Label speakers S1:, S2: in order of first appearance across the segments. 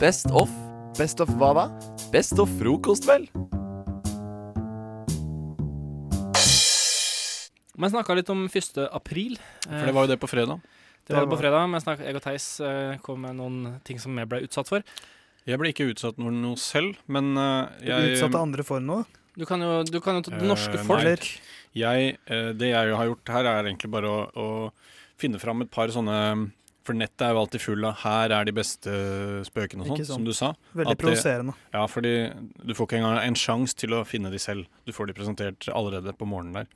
S1: Best of.
S2: Best of hva da?
S1: Best of frokost, vel?
S3: Men snakka litt om 1. april.
S4: For det var jo det på fredag.
S3: Det var det på fredag, men snak- jeg og Theis eh, kom med noen ting som jeg ble utsatt for.
S4: Jeg ble ikke utsatt for noe selv, men eh, jeg
S5: Utsatte andre for noe?
S3: Du kan jo, du kan jo ta det
S4: Eh,
S3: norske
S4: nei.
S3: folk.
S5: Eller
S4: jeg, eh, det jeg har gjort her, er egentlig bare å, å finne fram et par sånne For nettet er jo alltid full av 'her er de beste spøkene' og
S5: Ikke
S4: sånn, som du sa.
S5: veldig
S4: at det-
S5: provoserende.
S4: Ja, fordi du får ikke engang en sjanse til å finne de selv. Du får de presentert allerede på morgenen der.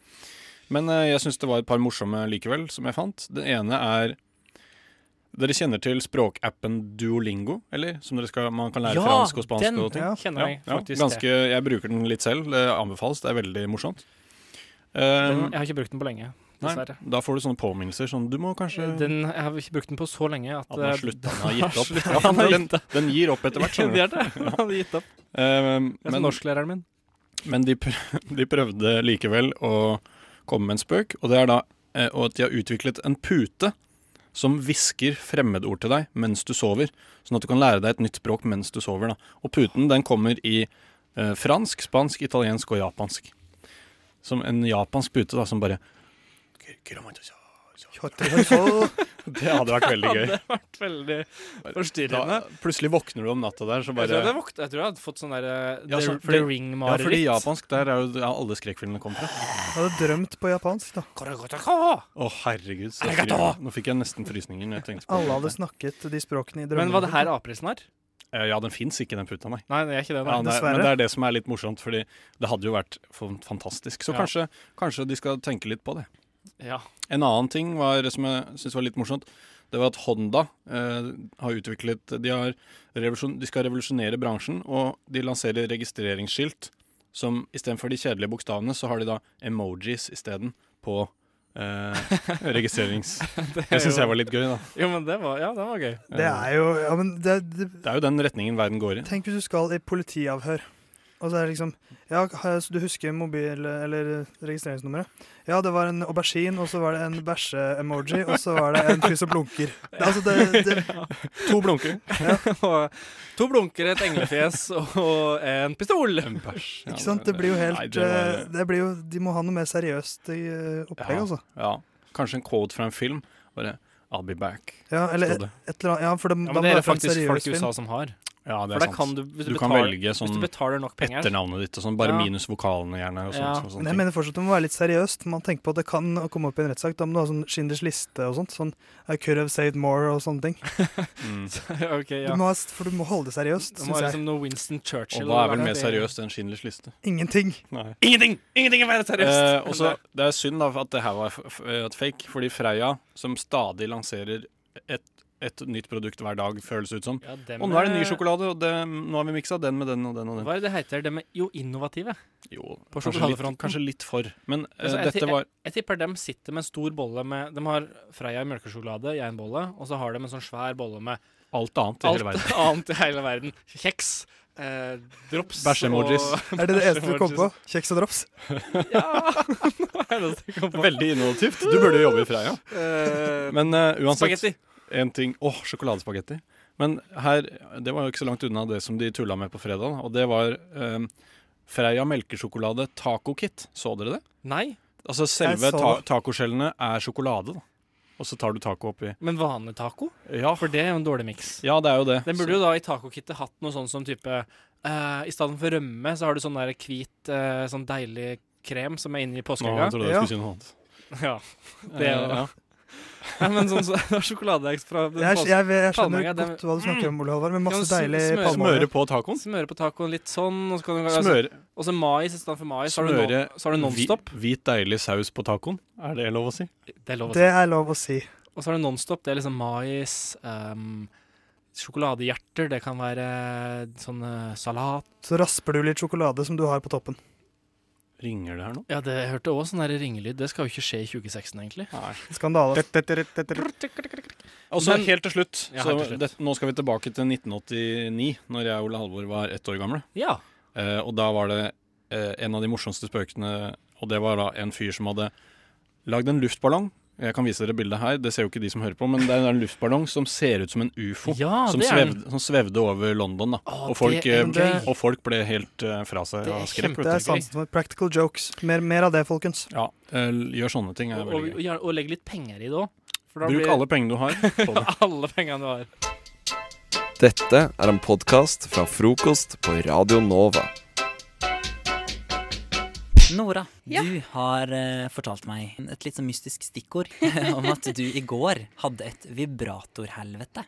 S4: Men eh, jeg syns det var et par morsomme likevel, som jeg fant. Den ene er Dere kjenner til språkappen Duolingo, eller? Som dere skal, man kan lære
S3: Ja,
S4: fransk og spansk
S3: den
S4: og ting.
S5: Ja.
S3: kjenner jeg faktisk.
S4: ganske, Eh, jeg bruker den litt selv. Det anbefales. Det er veldig morsomt.
S3: til.
S4: Eh,
S3: Den, jeg har ikke brukt den på lenge,
S4: nei,
S3: dessverre. Eh,
S4: da får du sånne påminnelser sånn Du må kanskje
S3: Den, jeg har ikke brukt den på så lenge at
S4: At den har
S3: eh,
S4: sluttet, den har gitt opp.
S3: sluttet,
S4: Ja,
S3: den har
S4: den-
S3: gitt opp.
S4: Den gir opp etter hvert, skjønner du.
S3: Det er det. Den har gitt opp.
S4: Eh,
S3: Det er som norsklæreren min.
S4: Men de, prøv, de prøvde likevel å komme med en spøk, og det er da eh, og at de har utviklet en pute som hvisker fremmedord til deg mens du sover, sånn at du kan lære deg et nytt språk mens du sover. Da. Og puten den kommer i eh, fransk, spansk, italiensk og japansk. Som en japansk pute da, som bare Det hadde vært veldig gøy.
S3: Det har vært veldig
S4: Da,
S3: forstyrrende.
S4: plutselig våkner du om natta der, så
S3: Jeg tror jeg
S4: bare
S3: hadde, våkt, jeg tror jeg hadde fått sånn der eh,
S4: Ja,
S3: The,
S4: sånn,
S3: the
S4: fordi- Ja,
S3: Ring-mareritt.
S4: fordi japansk, der er jo der alle skrekkfilmene kommer fra.
S5: Jeg hadde drømt på japansk, da.
S4: Å, herregud. Så
S3: Arigato!
S4: skriver- Nå fikk jeg nesten frysninger når jeg tenkte på det.
S5: Alle hadde snakket de språkene i drømmene.
S3: Men var det her aprilsnarr?
S4: Eh, Ja, den fins ikke, den puta, nei.
S3: Nei, det er ikke det.
S4: Ja,
S3: Nei.
S4: nei,
S5: dessverre.
S4: men det er det som er litt morsomt, fordi det hadde jo vært f- fantastisk. Så
S3: Ja.
S4: kanskje, kanskje de skal tenke litt på det.
S3: Ja.
S4: En annen ting var, som jeg syns var litt morsomt, det var at Honda eh, har utviklet de, har revolusjon, de skal revolusjonere bransjen, og de lanserer registreringsskilt som istedenfor de kjedelige bokstavene, så har de da emojis isteden på eh, registrerings...
S3: Det
S4: Det syns jeg
S3: er jo-
S4: var litt gøy, da.
S3: Jo, men det var, ja, det var gøy.
S5: Det er jo ja, men det, det,
S4: Det er jo den retningen verden går i.
S5: Tenk hvis du skal i politiavhør, og så er det liksom Ja, har- så du husker mobil- eller registreringsnummeret? Ja, det var en aubergine, og så var det en bæsje-emoji, og så var det en fyr som blunker. Det, altså, det, det,
S3: To blunker. Og to blunker, et englefjes og en pistol.
S4: En bæsj. Ja,
S5: ikke sant? Det blir jo helt
S4: Nei, det var-
S5: eh, det blir jo, De må ha noe mer seriøst i eh, opplegg,
S4: Ja.
S5: altså.
S4: Ja, kanskje en quote fra en film. Bare I'll be back.
S5: Ja, eller
S4: stod
S5: et,
S4: det.
S5: et eller annet Ja, for det,
S3: Ja,
S5: da må
S3: men det
S5: det være
S3: er
S5: en
S3: faktisk folk
S5: seriøs
S3: i
S5: film.
S3: USA som har.
S4: Ja, det
S3: For
S4: er
S3: da
S4: sant.
S3: kan du, hvis du,
S4: kan
S3: betaler,
S4: velge
S3: hvis
S4: sånn
S3: du betaler nok penger
S4: etternavnet ditt og sånn, bare
S3: Ja.
S4: minus vokalene gjerne. Og sånn,
S3: Ja.
S4: sånn,
S5: Men
S4: sånn
S5: jeg
S4: ting.
S5: mener fortsatt det må være litt seriøst. Man tenker på at det kan komme opp i en rettssak. Da må du ha sånn Schindlers liste og sånt. Sånn I could have saved more og sånne ting.
S4: Mm.
S3: Ok, ja.
S5: Du må ha, for du må holde det seriøst,
S3: Det må
S5: syns
S3: være
S5: jeg.
S3: liksom noe Winston Churchill.
S4: Og hva er vel
S3: eller
S4: mer
S3: det-
S4: seriøst enn Schindlers liste?
S5: Ingenting.
S4: Nei.
S3: Ingenting! Ingenting er mer seriøst!
S4: Eh, også, det er synd da at det her var f f et fake, fordi Freya, som stadig lanserer et, et nytt produkt hver dag, føles det ut som.
S3: Ja, det
S4: Og nå er det ny
S3: med-
S4: sjokolade, og det, nå har vi miksa den med den og den og den.
S3: Hva er det det heter? Det med jo innovative.
S4: Jo,
S3: På
S4: kanskje litt,
S3: sjokoladefronten.
S4: kanskje litt for. Men eh,
S3: Altså, jeg ti-
S4: dette var
S3: Jeg tipper dem sitter med en stor bolle med De har Freia i melkesjokolade, jeg en bolle, og så har de en sånn svær bolle med
S4: alt annet i hele verden.
S3: alt annet i hele verden. Kjeks, eh, drops
S4: Bæsj-emojis.
S3: og-
S5: Er det det eneste du kom på? Kjeks og drops?
S3: Ja! Det er det jeg kom på.
S4: Veldig innovativt. Du burde jo jobbe i Freia.
S3: Eh,
S4: Men eh, uansett
S3: Spagetti.
S4: En ting Åh, sjokoladespagetti. Men her, det var jo ikke så langt unna det som de tulla med på fredag. Og det var eh, Freia melkesjokolade tacokit. Så dere det?
S3: Nei,
S4: Altså selve
S5: Jeg så
S4: ta
S5: det.
S4: tacoskjellene er sjokolade, da. Og så tar du taco oppi.
S3: men vanlig taco?
S4: Ja,
S3: For det er jo en dårlig miks.
S4: ja det er jo det.
S3: Den burde jo da i tacokittet hatt noe sånn som type eh, I stedet for rømme, så har du sånn der hvit, eh, sånn deilig krem som er inni
S4: Nå
S3: påskeegga.
S4: trodde jeg
S5: Ja.
S4: skulle si noe annet.
S3: Ja. Det
S4: Eh,
S3: er jo-
S4: ja.
S3: Nei, men sånn så, det er sjokoladeegg fra den
S5: Jeg, jeg, jeg, skjønner
S3: Palmeegg, det-
S5: godt hva du snakker om, Ole Halvard, med
S3: Kan
S5: masse
S3: du sm-
S5: deilig
S3: smøre-
S5: palmeolje.
S4: Smøre på tacoen.
S3: Smøre på tacoen litt sånn, og så kan du
S4: Smøre,
S3: Og så mais i stedet for mais. Så har du,
S4: smøre
S3: no, så har du Nonstop.
S4: hvi- hvit, deilig saus på tacoen. Er det lov å si?
S3: Det er lov å si.
S5: Det er lov å si.
S3: Og så har du Nonstop. Det er liksom mais, ehm, sjokoladehjerter, det kan være sånn eh, salat
S5: Så rasper du litt sjokolade som du har på toppen.
S4: Ringer det her nå?
S3: Ja, det jeg hørte òg sånn der ringelyd. Det skal jo ikke skje i 2016, egentlig.
S4: Nei.
S5: Skandale.
S4: Og så
S3: Men-
S4: helt til slutt,
S3: Ja,
S4: så
S3: helt til slutt.
S4: Det, nå skal vi tilbake til 1989, når jeg og Ole Halvor var ett år gamle.
S3: Ja.
S4: Eh, og da var det eh, en av de morsomste spøkene, og det var da en fyr som hadde lagd en luftballong Jeg kan vise dere bildet her. Det ser jo ikke de som hører på, men det er en luftballong som ser ut som en ufo.
S3: Ja,
S4: som,
S3: det er den.
S4: svevde, som svevde over London, da.
S3: Å,
S4: og, folk,
S3: det er
S4: eh,
S3: gøy.
S4: og folk ble helt eh, fra seg
S3: Det er
S4: av skrekk.
S5: Det
S4: vet
S5: er
S4: du.
S5: sansen for practical jokes. Mer, mer av det, folkens.
S4: Ja, eh, gjør sånne ting. er
S3: Og, og,
S4: veldig
S3: og,
S4: gøy.
S3: gjerne- og legg litt penger i det òg.
S4: Bruk alle pengene du har på det.
S3: alle pengene du har.
S1: Dette er en podkast fra frokost på Radio Nova.
S2: Nora,
S6: Ja.
S2: du har eh, fortalt meg et litt sånn mystisk stikkord eh, om at du i går hadde et vibratorhelvete.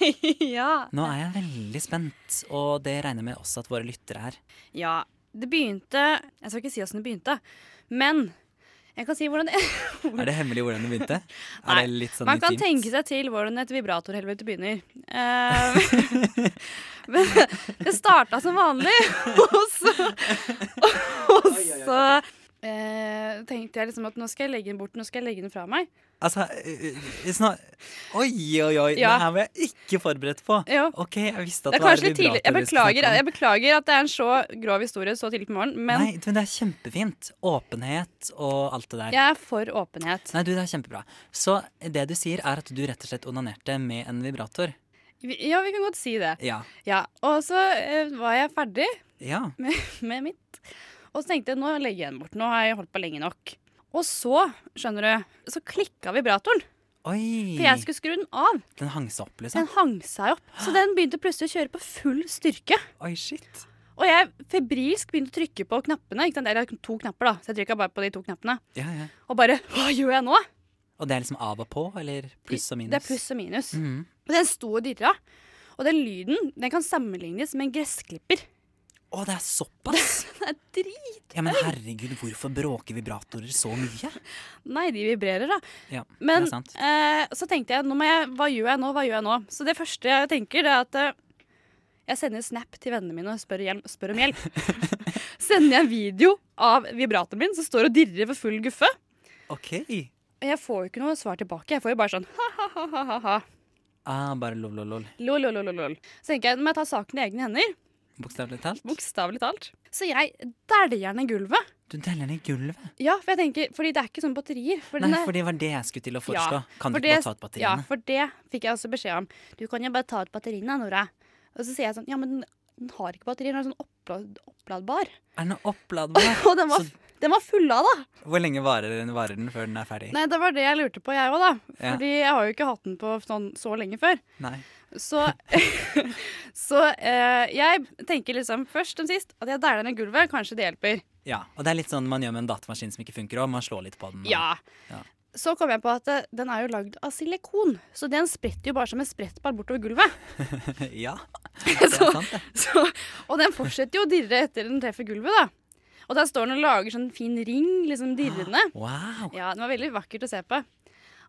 S6: ja.
S2: Nå er jeg veldig spent, og det regner jeg med også at våre lyttere er.
S6: ja. Det begynte Jeg skal ikke si åssen det begynte, men jeg kan si hvordan det
S2: Er det hemmelig hvordan det begynte?
S6: Nei,
S2: er det litt sånn
S6: Man kan
S2: intimt?
S6: tenke seg til hvordan et vibratorhelvete begynner. Eh, men det starta som vanlig, og så, og så eh, tenkte jeg liksom at nå skal jeg legge den bort, nå skal jeg legge den fra meg.
S2: Altså, eh, eh, sånn- Oi, oi, oi!
S6: Ja.
S2: Det her var jeg ikke forberedt på.
S6: Jo.
S2: OK, jeg visste at det,
S6: Det er
S2: var
S6: kanskje litt tidlig. Jeg
S2: vibrator vi skulle
S6: beklager,
S2: snakke om.
S6: jeg beklager at det er en så grov historie så tidlig på morgenen, men
S2: Nei, men det er kjempefint. Åpenhet og alt det der.
S6: jeg er for åpenhet.
S2: Nei, du, det er kjempebra. Så det du sier, er at du rett og slett onanerte med en vibrator?
S6: Vi- Ja, vi kan godt si det.
S2: Ja.
S6: Ja, Og så eh, var jeg ferdig
S2: Ja.
S6: med mitt, og så tenkte jeg nå legger jeg den bort. Nå har jeg holdt på lenge nok. Og så, skjønner du, så klikka vibratoren.
S2: Oi!
S6: For jeg skulle skru den av.
S2: Den hang seg opp, liksom?
S6: Den hang seg opp. Så den begynte plutselig å kjøre på full styrke.
S2: Oi, shit.
S6: Og jeg febrilsk begynte å trykke på knappene. Ikke sant? Jeg har to knapper, da. Så jeg trykka bare på de to knappene.
S2: Ja, ja.
S6: Og bare Hva gjør jeg nå?
S2: Og det er liksom av og på, eller pluss og minus?
S6: Det er pluss og minus.
S2: Mhm.
S6: Og den sto og dirra. Og den lyden den kan sammenlignes med en gressklipper.
S2: Å, det er såpass?
S6: Det er drit.
S2: Ja, men herregud, hvorfor bråker vibratorer så mye?
S6: Nei, de vibrerer, da.
S2: Ja,
S6: Men
S2: det er sant.
S6: eh, så tenkte jeg, nå må jeg Hva gjør jeg nå? Hva gjør jeg nå? Så det første jeg tenker, det er at eh, jeg sender snap til vennene mine og spør, hjem, spør om hjelp. sender jeg en video av vibratoren min som står og dirrer for full guffe.
S2: OK.
S6: Og jeg får jo ikke noe svar tilbake. Jeg får jo bare sånn ha-ha-ha-ha.
S2: Ah, bare lol, lol, lol.
S6: Lol, lol, lol, lol. Så tenker jeg, nå må jeg ta saken i egne hender.
S2: Bokstavelig talt.
S6: Bokstavelig talt. Så jeg dæljer ned gulvet.
S2: Du deler ned gulvet.
S6: Ja, for jeg tenker, fordi det er ikke sånne batterier. For
S2: Nei,
S6: den er-
S2: for det var det jeg skulle til å foreslå. Kan du
S6: for
S2: ikke bare
S6: det-
S2: ta ut
S6: Ja,
S2: batteriene?
S6: for det fikk jeg også beskjed om. Du kan jo bare ta ut batteriene, Nora. Og så sier jeg sånn, ja, men den- den har ikke batterier, den er sånn oppla- oppladbar.
S2: Er den oppladbar?
S6: Og den var,
S2: Så-
S6: den var full av, da.
S2: Hvor lenge varer den, varer den før den er ferdig?
S6: Nei, det var det jeg lurte på, jeg òg, da.
S2: Ja.
S6: Fordi jeg har jo ikke hatt den på sånn så lenge før.
S2: Nei.
S6: Så, så eh, jeg tenker liksom først som sist at jeg dæler ned gulvet, kanskje det hjelper.
S2: Ja, og det er litt sånn man gjør med en datamaskin som ikke funker, og man slår litt på den. og-
S6: Ja.
S2: Mm. Ja.
S6: Så kom jeg på at eh, den er jo lagd av silikon, så den spretter jo bare som en sprettball bortover gulvet.
S2: ja. Det
S6: Så,
S2: er sant, det.
S6: Så, og den fortsetter jo å dirre etter den treffer gulvet, da. Og der står den og lager sånn fin ring, liksom dirrende.
S2: Wow.
S6: Ja, den var veldig vakkert å se på.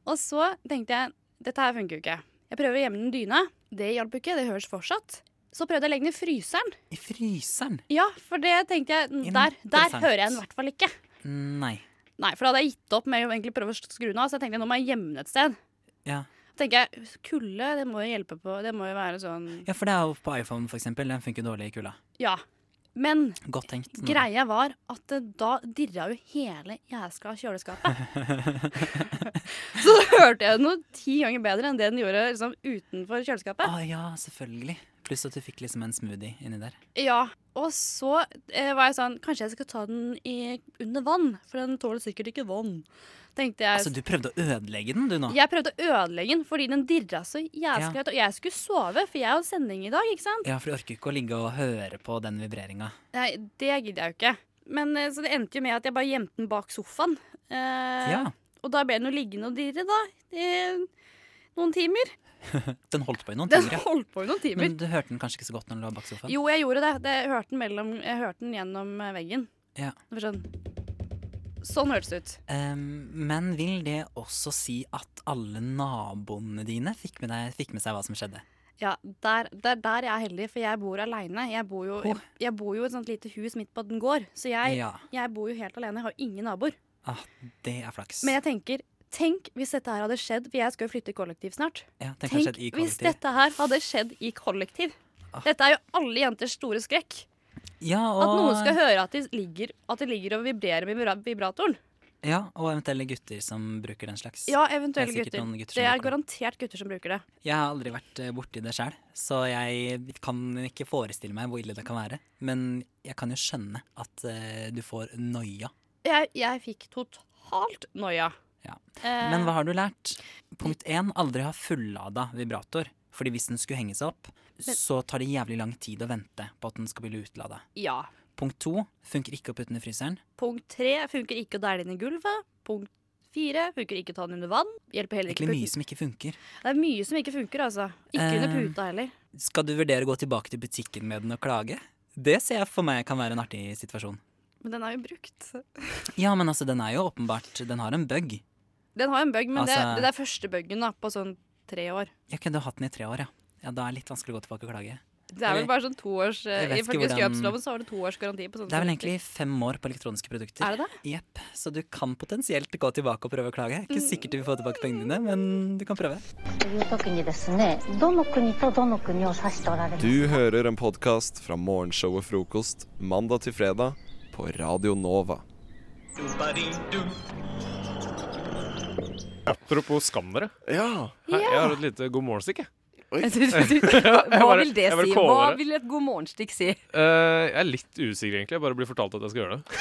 S6: Og så tenkte jeg, dette her funker jo ikke. Jeg prøver å gjemme den i dyna. Det hjalp jo ikke, det høres fortsatt. Så prøvde jeg å legge den i fryseren.
S2: I fryseren?
S6: Ja, for det tenkte jeg, mm, der, der
S2: Interessant.
S6: hører jeg den i hvert fall ikke.
S2: Nei.
S6: Nei, for da hadde jeg gitt opp med å egentlig prøve å skru den av, så jeg tenkte nå må jeg gjemme den et sted.
S2: Ja.
S6: Så tenker jeg, kulde, det må jo hjelpe på, det må jo være sånn,
S2: ja, for det er jo på iPhone, for eksempel. Den funker dårlig i kulda.
S6: ja. Men
S2: Godt tenkt. Nora.
S6: Greia var at eh, da dirra jo hele jæskla kjøleskapet. så da hørte jeg noe ti ganger bedre enn det den gjorde liksom, utenfor
S2: Å
S6: kjøleskapet.
S2: ja, selvfølgelig. Pluss at du fikk liksom en smoothie inni der.
S6: Ja, Og så eh, var jeg sånn Kanskje jeg skal ta den i, under vann, for den tåler sikkert ikke vann. Tenkte jeg.
S2: Altså, du prøvde å ødelegge den, du nå.
S6: Jeg prøvde å ødelegge den fordi den dirra så jæskla høyt. Og jeg skulle sove, for jeg har sending i dag, ikke sant?
S2: Ja, for du orker ikke å ligge og høre på den vibreringa.
S6: Nei, det gidder jeg jo ikke. Men eh, Så det endte jo med at jeg bare gjemte den bak sofaen. Eh,
S2: Ja.
S6: Og da ble den jo liggende og dirre, da. I noen timer.
S2: Den holdt på i noen
S6: Den
S2: timer, ja.
S6: holdt på i noen timer.
S2: Men du hørte den kanskje ikke så godt når den lå bak sofaen?
S6: Jo, jeg gjorde det. det jeg, hørte den mellom, jeg hørte den gjennom eh, veggen.
S2: Ja.
S6: Det var sånn. Sånn hørtes det ut.
S2: Ehm, men vil det også si at alle naboene dine fikk med, deg, fikk med seg hva som skjedde?
S6: Ja, der, der, der jeg er heldig, for jeg bor aleine. Jeg, bor jo- jeg,
S2: Åh.
S6: jeg bor jo i et sånt lite hus midt på den gård, så jeg,
S2: Ja.
S6: jeg bor jo helt alene. Jeg har jo ingen naboer.
S2: Ah, det er flaks.
S6: Men jeg tenker Tenk hvis dette her hadde skjedd, for jeg skal jo flytte i kollektiv snart.
S2: ja, den kanskje
S6: Tenk
S2: skjedde i
S6: hvis
S2: kollektiv. Ah.
S6: dette her hadde skjedd i kollektiv. Dette er jo alle jenters store skrekk.
S2: Ja,
S6: At noen
S2: og-
S6: skal høre at de ligger, at de ligger og vibrerer med vibra- vibratoren.
S2: Ja, og eventuelle gutter som bruker den slags.
S6: Ja, eventuelle
S2: Det er sikkert
S6: gutter.
S2: noen gutter som
S6: Det er
S2: bruker det.
S6: garantert gutter som bruker det.
S2: Jeg har aldri vært eh, borti det sjøl, så jeg kan ikke forestille meg hvor ille det kan være. Men jeg kan jo skjønne at eh, du får noia.
S6: Jeg, jeg fikk totalt noia.
S2: Ja.
S6: Eh,
S2: Men hva har du lært? Punkt én, aldri ha fullada vibrator. Fordi hvis den skulle henge seg opp, så tar det jævlig lang tid å vente på at den skal bli utlada.
S6: Ja.
S2: Punkt to, funker ikke å putte den i fryseren.
S6: Punkt tre funker ikke å dæle den i gulvet. Punkt fire funker ikke å ta den under vann. Hjelper heller ikke
S2: Egentlig mye
S6: puten.
S2: som ikke funker.
S6: Det er mye som ikke funker, altså. Ikke under
S2: Eh,
S6: puta heller.
S2: Skal du vurdere å gå tilbake til butikken med den og klage? Det ser jeg for meg kan være en artig situasjon.
S6: Men den er jo brukt.
S2: Ja, men altså, den er jo åpenbart Den har en bug.
S6: Den har en bug, men
S2: Altså-
S6: det, det er første bugen da, på sånn tre år.
S2: Ja, ok, du har hatt den i tre år, ja. Ja, Da er det litt vanskelig å gå tilbake og klage.
S6: Det er vel bare sånn to års
S2: Jeg vet ikke
S6: Ifølge
S2: hvordan-
S6: skjøpsloven så har du to års garanti på sånne.
S2: Det er vel
S6: produkter.
S2: egentlig fem år på elektroniske produkter.
S6: Er det det?
S2: Jepp. Så du kan potensielt gå tilbake og prøve å klage. Ikke sikkert du vil få tilbake pengene dine, men du kan prøve.
S7: という時にですねどの国とどの国を指しておられますか
S1: Du hører en podkast fra morgenshowet Frokost mandag til fredag på Radio Nova.
S8: Apropos skam dere.
S1: Ja,
S8: Her- Jeg har et lite god morgen-stikk. jeg.
S9: Hva
S8: bare-
S9: vil det
S8: jeg bare
S9: si?
S8: kåler
S9: Hva
S8: det.
S9: vil et god morgenstikk si?
S8: Eh, jeg er litt usikker, egentlig. Jeg bare blir fortalt at jeg skal gjøre det.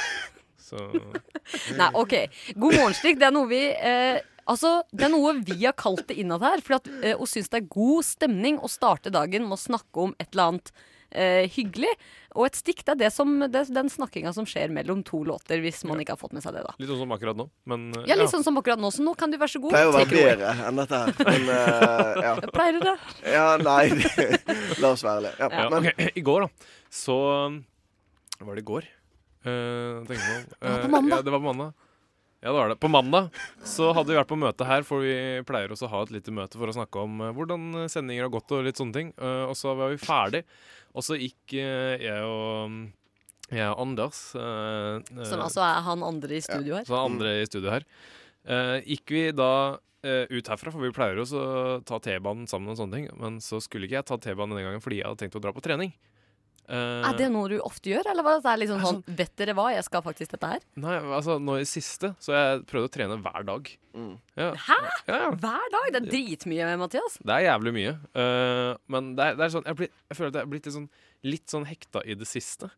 S8: Så
S9: Nei, OK. God morgenstikk, det er noe vi eh, Altså, det er noe vi har kalt det innad her. For at eh, og syns det er god stemning å starte dagen med å snakke om et eller annet eh, hyggelig. Og et stikk, det er det som, det er den snakkinga som skjer mellom to låter, hvis man ikke har fått med seg det, da.
S8: litt sånn som akkurat nå. Men eh,
S9: Ja, litt sånn som akkurat nå, så nå kan du være så god.
S10: pleier å være
S9: Take it away.
S10: bedre enn dette her. Men eh, ja.
S9: Pleier du det?
S10: ja, nei La oss være ærlige. Ja,
S8: Ja,
S10: men
S8: ok. I går, da, så Hva var det i går? Eh, tenker jeg på.
S9: var på
S8: Eh,
S9: mandag.
S8: Ja, det var på mandag. Ja, det var det. På mandag så hadde vi vært på møte her, for vi pleier også å ha et lite møte for å snakke om eh, hvordan sendinger har gått og litt sånne ting. Eh, og så var vi ferdig, og så gikk eh, jeg og jeg og Anders eh, eh,
S9: Som altså er han andre i studio her.
S8: så
S10: Mm.
S8: er andre i studio her. Eh, gikk vi da eh, ut herfra, for vi pleier jo også å ta T-banen sammen og sånne ting, men så skulle ikke jeg ta T-banen denne gangen fordi jeg hadde tenkt å dra på trening. Eh,
S9: Er Ah, det noe du ofte gjør, eller hva? Det er liksom
S8: Er
S9: sånn, vet dere hva, jeg skal faktisk dette her.
S8: Nei, altså nå i siste, så jeg prøvde å trene hver dag.
S10: Mm.
S8: Ja.
S9: Hæ?
S8: Ja, ja.
S9: Hver dag? Det er dritmye, Mathias.
S8: Det er jævlig mye. Eh, men det er, det er sånn, jeg, blir, jeg føler at jeg er blitt litt sånn, litt sånn hekta i det siste.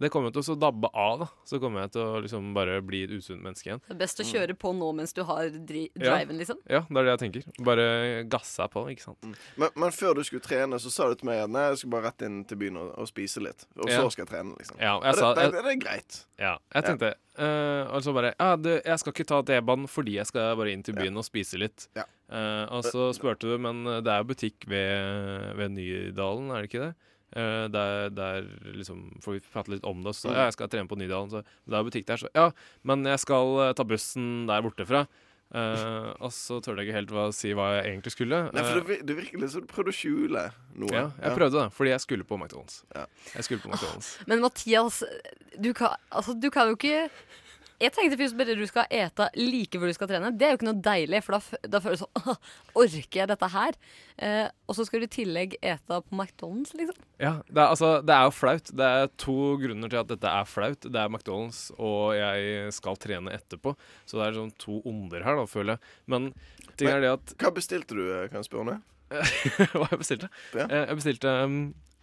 S8: Det kommer til å så dabbe av, da. Så kommer jeg til å liksom bare bli et usunt menneske igjen.
S9: Det er best å kjøre på nå mens du har dri
S8: Mm. Ja.
S9: driven, liksom.
S8: Ja, det er det jeg tenker. Bare gassa på, ikke sant.
S10: Men, men før du skulle trene, så sa du til meg at nei, jeg skal bare rett inn til byen og, og spise litt. Og
S8: Ja.
S10: så skal jeg trene, liksom.
S8: Ja, og
S10: Og
S8: jeg sa,
S10: det,
S8: jeg,
S10: det, det er greit.
S8: Ja, jeg
S10: Ja.
S8: tenkte eh, Og så bare Ja, du, jeg skal ikke ta D-banen fordi jeg skal bare inn til byen og spise litt.
S10: Ja.
S8: Eh, og så spurte du, men eh, det er jo butikk ved, ved Nydalen, er det ikke det? Eh, der, der liksom Får vi prate litt om det, og
S10: Mm.
S8: så sa jeg, ja, jeg skal trene på Nydalen. Så, men det er jo butikk der, så ja, men jeg skal eh, ta bussen der borte fra. Eh, og så tør jeg ikke helt hva, si hva jeg egentlig skulle.
S10: Nei,
S8: Eh,
S10: for det, det virker litt som du prøvde å skjule noe.
S8: ja, jeg prøvde det, fordi jeg skulle på McDonald's.
S10: Ja.
S8: Jeg skulle på McDonald's.
S9: Men Mathias, du kan, altså, du kan jo ikke jeg tenkte først bare du skal ete like før du skal trene. Det er jo ikke noe deilig, for da, f- da føles det sånn «Åh, Orker jeg dette her? Eh, og så skal du i tillegg ete på McDonald's, liksom.
S8: Ja, det er, altså, det er jo flaut. Det er to grunner til at dette er flaut. Det er McDonald's, og jeg skal trene etterpå. Så det er sånn to onder her, da, føler jeg. Men ting er det at
S10: Hva bestilte du, eh, kan jeg spørre om det?
S8: Hva jeg bestilte?
S10: Ja.
S8: Eh, Jeg bestilte um,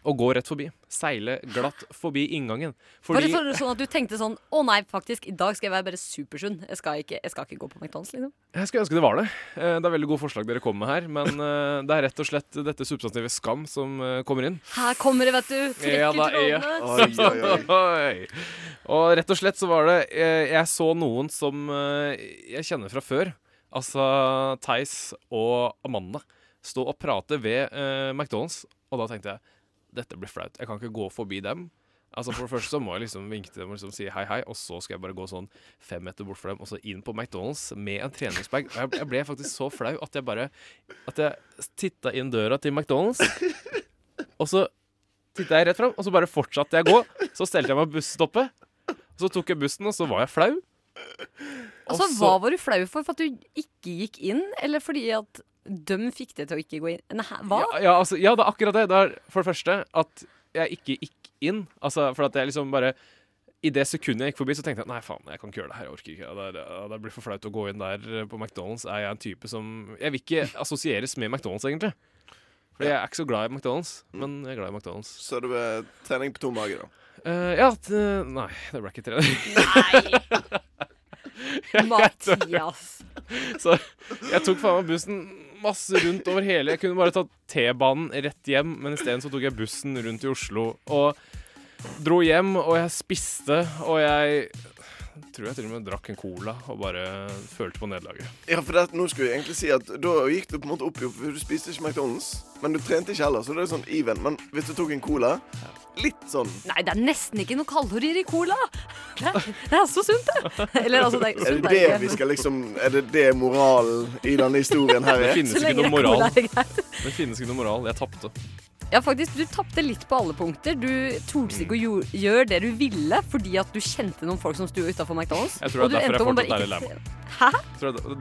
S8: å gå rett forbi. Seile glatt forbi inngangen.
S9: Fordi...
S8: Fordi
S9: Bare så- sånn at du tenkte sånn Å nei, faktisk, i dag skal jeg være bare supersunn. Jeg skal ikke, jeg skal ikke gå på McDonald's, liksom.
S8: Jeg skulle ønske det var det. Eh, Det er veldig gode forslag dere kommer med her, men eh, det er rett og slett dette substantivet skam som eh, kommer inn.
S9: Her kommer det, vet du. Trekker
S8: Ja da, ja.
S9: trådene.
S10: Oi, oi, oi.
S8: Oi. Og rett og slett så var det eh, Jeg så noen som eh, jeg kjenner fra før. Altså Theis og Amanda stå og prate ved eh, McDonald's, og da tenkte jeg dette blir flaut. Jeg kan ikke gå forbi dem. Altså For det første så må jeg liksom vinke til dem og liksom si hei, hei, og så skal jeg bare gå sånn fem meter bort fra dem og så inn på McDonald's med en treningsbag. Og jeg, jeg ble faktisk så flau at jeg bare At jeg titta inn døra til McDonald's, og så titta jeg rett fram, og så bare fortsatte jeg å gå. Så stelte jeg meg på busstoppet, og så tok jeg bussen, og så var jeg flau.
S9: Altså,
S8: Og så-
S9: Hva var du flau for? For at du ikke gikk inn, eller fordi at døm fikk deg til å ikke gå inn? Nei, hva?
S8: Ja, ja, altså, ja, det er akkurat det. Det er for det første at jeg ikke gikk inn. Altså, for at jeg liksom bare i det sekundet jeg gikk forbi, så tenkte jeg nei, faen, jeg kan ikke gjøre det her. Jeg orker ikke. Det, er- det, det blir for flaut å gå inn der eh, på McDonald's. Er jeg en type som Jeg vil ikke assosieres med McDonald's, egentlig. Fordi jeg er ikke så glad i McDonald's, men jeg er glad i McDonald's.
S10: Så det ble trening på tom mage, da.
S8: Eh, ja t Nei, det ble ikke trening.
S9: Mathias.
S8: Så jeg tok faen meg bussen masse rundt over hele. Jeg kunne bare tatt T-banen rett hjem, men isteden så tok jeg bussen rundt i Oslo. Og dro hjem, og jeg spiste, og jeg tror jeg til og med drakk en cola og bare følte på nederlaget.
S10: Ja, for det, nå skulle jeg egentlig si at da gikk du på en måte opp i opp, for du spiste ikke McDonald's, men du trente ikke heller, så det er sånn even. Men hvis du tok en cola, litt sånn
S9: Nei, det er nesten ikke noe kalorier i cola. Det er, det er så sunt, det. Eller altså, det er
S10: Er
S9: sunt.
S10: det
S9: det
S10: det
S9: er
S10: vi
S9: ikke.
S10: skal liksom Er det det moralen i denne historien her
S8: Det
S10: er?
S8: finnes
S9: Så
S8: ikke
S9: lenge det
S8: noe
S9: er cola,
S8: moral.
S9: er det greit.
S8: Det finnes ikke noe moral. Jeg tapte.
S9: Ja, faktisk, du tapte litt på alle punkter. Du torde ikke å gjo- gjøre det du ville fordi at du kjente noen folk som sto utafor McDonald's.
S8: Jeg tror
S9: og
S8: det er
S9: du
S8: derfor
S9: endte
S8: jeg
S9: opp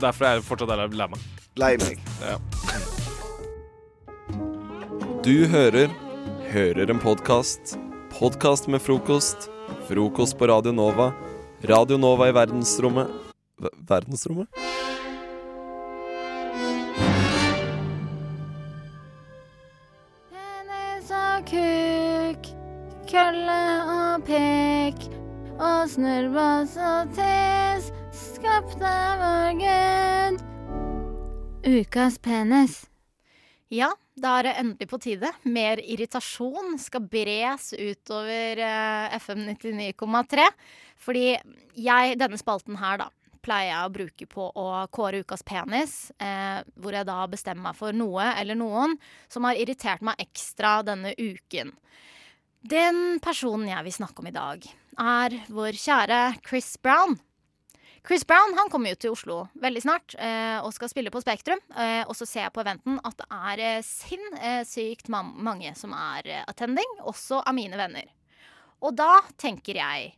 S9: med
S8: fortsatt
S9: å
S8: er
S9: bare
S8: litt lei Jeg
S9: ikke-
S8: tror det- Derfor er jeg fortsatt er lei meg.
S10: Lei meg.
S1: Du hører Hører en podkast. Podkast med frokost. Frokost på Radio Nova. Radio Nova i verdensrommet Ver- Verdensrommet?
S7: Penis og kuk, kølle og pek, og snurrbass og tes, skapt av vår Gud. Ukas penis.
S11: Ja, da er det endelig på tide. Mer irritasjon skal bres utover eh, FM 99,3. Fordi jeg, denne spalten her, da, pleier jeg å bruke på å kåre ukas penis. Eh, hvor jeg da bestemmer meg for noe eller noen som har irritert meg ekstra denne uken. Den personen jeg vil snakke om i dag, er vår kjære Chris Brown. Chris Brown han kommer jo til Oslo veldig snart eh, og skal spille på Spektrum. Eh, og så ser jeg på eventen at det er eh, sinnssykt ma mange som er eh, attending, også av mine venner. Og da tenker jeg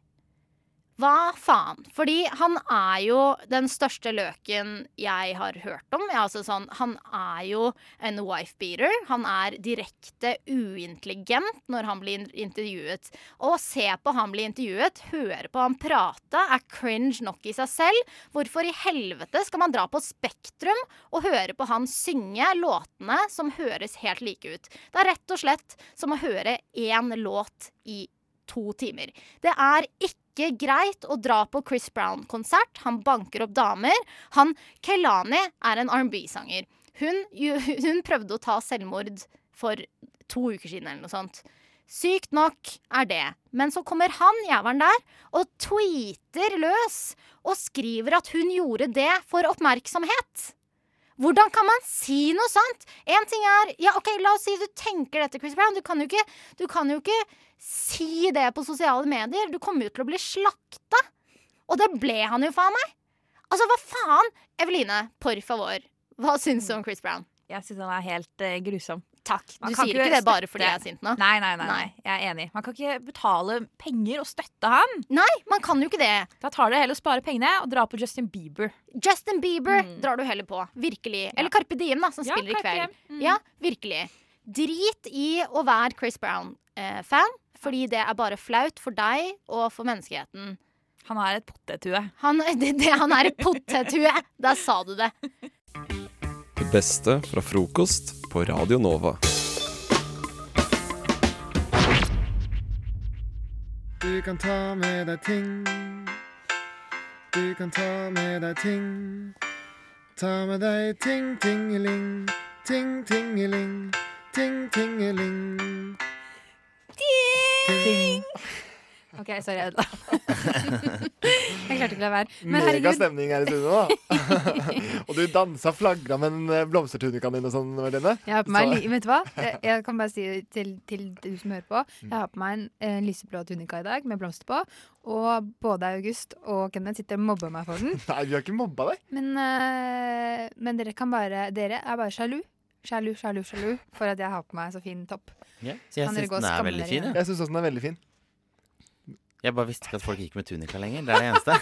S11: hva faen? Fordi han er jo den største løken jeg har hørt om. Ja, altså sånn, han er jo en wife-beater. Han er direkte uintelligent når han blir intervjuet. Å se på han bli intervjuet, høre på han prate, er cringe nok i seg selv. Hvorfor i helvete skal man dra på Spektrum og høre på han synge låtene som høres helt like ut? Det er rett og slett som å høre én låt i to timer. Det er ikke greit å dra på Chris Brown-konsert. Han banker opp damer. Han Kelani er en R&B-sanger. Hun, ju- hun prøvde å ta selvmord for to uker siden eller noe sånt. Sykt nok er det. Men så kommer han jævelen der og tweeter løs og skriver at hun gjorde det for oppmerksomhet. Hvordan kan man si noe sånt? En ting er Ja, OK, la oss si du tenker dette, Chris Brown. Du kan jo ikke, du kan jo ikke si det på sosiale medier. Du kommer jo til å bli slakta. Og det ble han jo, faen meg. Altså, hva faen? Eveline, por favor. Hva syns du om Chris Brown?
S12: Jeg syns han er helt eh, grusom.
S11: Takk.
S12: Man
S11: Du
S12: kan
S11: sier ikke det bare fordi jeg er
S12: støtte-
S11: sint nå.
S12: Nei, nei, nei, nei.
S11: Nei.
S12: Jeg er enig. Man kan ikke betale penger og støtte han.
S11: Nei, man kan jo ikke det.
S12: Da tar det heller å spare pengene og dra på Justin Bieber. Mm.
S11: Justin Bieber drar du heller på. Virkelig. Eller Carpe Diem, da, som
S12: Ja,
S11: spiller i
S12: Carpe
S11: kveld.
S12: Diem. Mm.
S11: Ja, virkelig. Drit i å være Chris Brown-fan, fordi det er bare flaut for deg og for menneskeheten.
S12: Han er et pottethue.
S11: Han, det, det, han er et potethue! Der sa du det.
S1: Det beste fra frokost på Radio Nova.
S13: Du kan ta med deg ting. Du kan ta med deg ting. Ta med deg ting, tingeling. Ting, tingeling. Ting, tingeling. Ting.
S12: OK, sorry, jeg ødela. jeg klarte ikke å la være. Men
S14: Mega
S12: herregud.
S14: stemning her i studio nå. og du dansa flagra med en eh, blomstertunikan din og sånn, Marlene.
S15: Jeg har på meg,
S14: Så-
S15: li- vet du hva? Jeg, jeg kan bare si til, til du som hører på.
S14: Mm.
S15: Jeg har på meg en, en lyseblå tunika i dag med blomster på. Og både August og Kenneth sitter og mobber meg for den.
S14: Nei, vi har ikke mobba deg.
S15: Men, eh, men dere, kan bare, dere er bare sjalu. Sjalu, sjalu, sjalu for at jeg har på meg så fin topp.
S16: så jeg
S15: Kan dere
S16: syns
S15: gå og
S16: den er
S15: skamme
S16: veldig
S15: dere
S16: fin.
S15: igjen?
S16: Jeg,
S14: Jeg syns også den er veldig fin.
S16: jeg bare visste ikke at folk gikk med tunika lenger. Det er det eneste.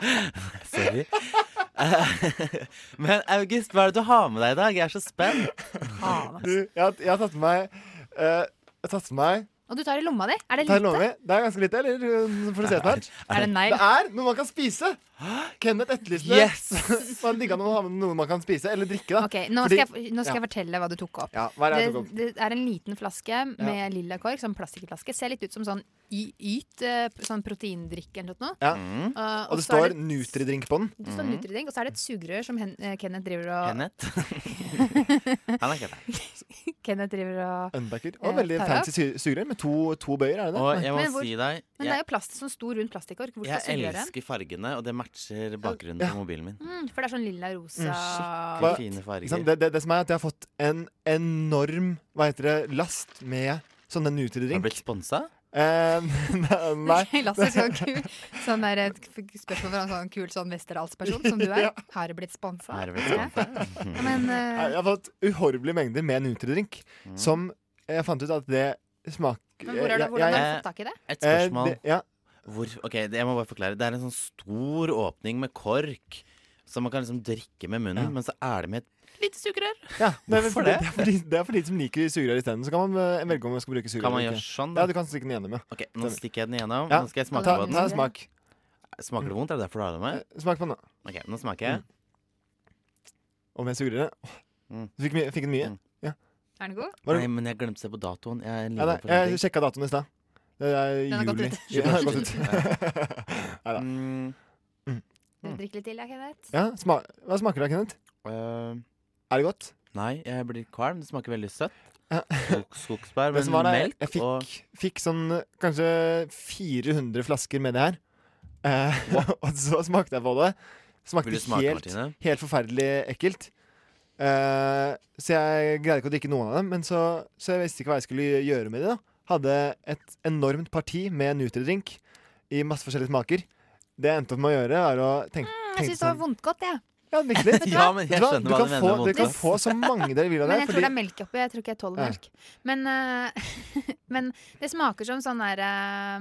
S16: Sorry. Eh, Men August, hva er det du har med deg i dag? Jeg er så spent.
S15: Ah,
S14: Du, jeg, har- jeg har tatt med meg eh, Jeg har tatt med meg
S15: Og du tar i lomma di? Er det
S14: Det er, lov,
S15: lite?
S14: det er ganske lite, eller? uh, For å se etter hvert.
S15: Er det negl?
S14: Det er noe man kan spise! Kenneth etterlyste det. Man digga når man har med noe man kan spise, eller drikke. da
S15: Ok, nå skal, jeg, nå skal jeg fortelle hva du tok opp.
S14: Ja, hva er det jeg tok opp?
S15: det er en liten flaske med lilla kork, sånn plastikkflaske. Ser litt ut som sånn Y- Yt, eh, sånn proteindrikk eller noe.
S14: Ja.
S15: Mm. Uh,
S14: og det
S15: så er
S14: står
S15: det-
S14: Nutridrink på den.
S15: Det står
S16: Mm.
S15: Nutridrink, og så er det et sugerør som Hen eh, Kenneth driver og
S16: Han er ikke det.
S15: Kenneth driver og
S14: Unbacker.
S15: eh,
S14: Og veldig
S15: tar av.
S14: fancy sy- sugerør med to, to bøyer, er det det?
S16: Og jeg må
S15: Men hvor-
S16: si deg
S15: Men det er
S16: jeg,
S15: jo plast, sånn stor, rund plastikkork. Hvor skal
S16: jeg
S15: sugerøret?
S16: elsker fargene, og det matcher bakgrunnen på mobilen min.
S15: Mm, for det er sånn lilla, rosa
S14: Hva-
S16: fine farger.
S14: ikke sant, Det, det, det som er at jeg har fått en enorm hva heter det, last med sånn sånne Nutridrink. Har du
S16: blitt sponsa?
S14: Eh, nei.
S15: Lasse sånn kul Sånn der, et f- spørsmål fra en sånn kul sånn Westerdals-person som du er.
S14: Ja.
S15: Har du blitt sponsa?
S14: Har du blitt
S15: Ja, men eh,
S14: Jeg har fått uhorvelige mengder med Nutridrink,
S16: Mm.
S14: som jeg fant ut at det smaker
S15: Men hvor er det-
S14: jeg-
S15: hvordan har du
S14: jeg-
S15: fått tak i det?
S16: Et spørsmål.
S14: Eh, det- ja.
S16: Hvor, ok, det, jeg må bare forklare. Det er en sånn stor åpning med kork, som man kan liksom drikke med munnen, men så er det med et
S15: Lite sugerør.
S14: Ja, nei, men
S16: Hvorfor
S14: for det? Det, er for de, det er for de som liker sugerør isteden. Så kan man eh, velge om man skal bruke sugerør.
S16: Kan man
S14: eller
S16: gjøre
S14: ikke.
S16: sånn, da?
S14: Ja, du kan stikke den gjennom, ja.
S16: Ok, nå stikker jeg den igjennom.
S14: Ja,
S16: Nå skal jeg smake
S14: ta-
S16: på den.
S14: ta en smak. Eh,
S16: Smaker det vondt? Er det derfor du har det med?
S14: Smak på den, da. Mm.
S16: Ok, nå smaker jeg.
S14: Og med sugerøret. Åh, Du fikk, mye- fikk den mye? Ja.
S15: Er den god?
S14: Var det-
S16: Mm. Nei, men jeg glemte å se på datoen. Jeg er
S14: Ja,
S16: livredd
S14: nei,
S16: for sånne ting.
S14: jeg sjekka datoen i stad. Det er
S15: Den har gått
S14: juli.
S15: ut.
S14: Ja, den har gått ut.
S16: Ja.
S14: Nei da.
S16: Mm.
S15: Drikk litt til, ja, Kenneth.
S14: Ja, sma hva smaker det, Kenneth? er det godt?
S16: Eh, Nei, jeg blir kvalm. Det smaker veldig søtt. Skog, skogsbær,
S14: Det
S16: men
S14: som var det, jeg-
S16: melk
S14: jeg fikk,
S16: og
S14: fikk sånn eh, kanskje 400 flasker med det her. Eh, og så smakte jeg på det. Smakte
S16: Vil du smake,
S14: helt,
S16: Martine?
S14: helt forferdelig ekkelt. Eh, så jeg greide ikke å drikke noen av dem. Men så, så jeg visste ikke hva jeg skulle gjøre med det. da Hadde et enormt parti med Nutridrink i masse forskjellige smaker. Det jeg endte opp med å gjøre, er å tenke,
S15: Mm, Jeg
S14: tenke
S15: syns det var vondt godt, jeg.
S14: Ja, virkelig.
S15: Vet du
S16: Ja,
S15: hva?
S16: men
S14: Vet
S16: jeg
S14: du hva? du
S16: skjønner hva
S14: kan
S16: du mener
S14: få,
S16: med
S14: dere kan
S16: vondt.
S14: få så mange dere vil av det.
S15: Men jeg tror
S14: fordi-
S15: det er melk oppi. Jeg tror ikke jeg tåler
S14: Ja.
S15: melk. Men, eh, men det smaker som sånn der eh,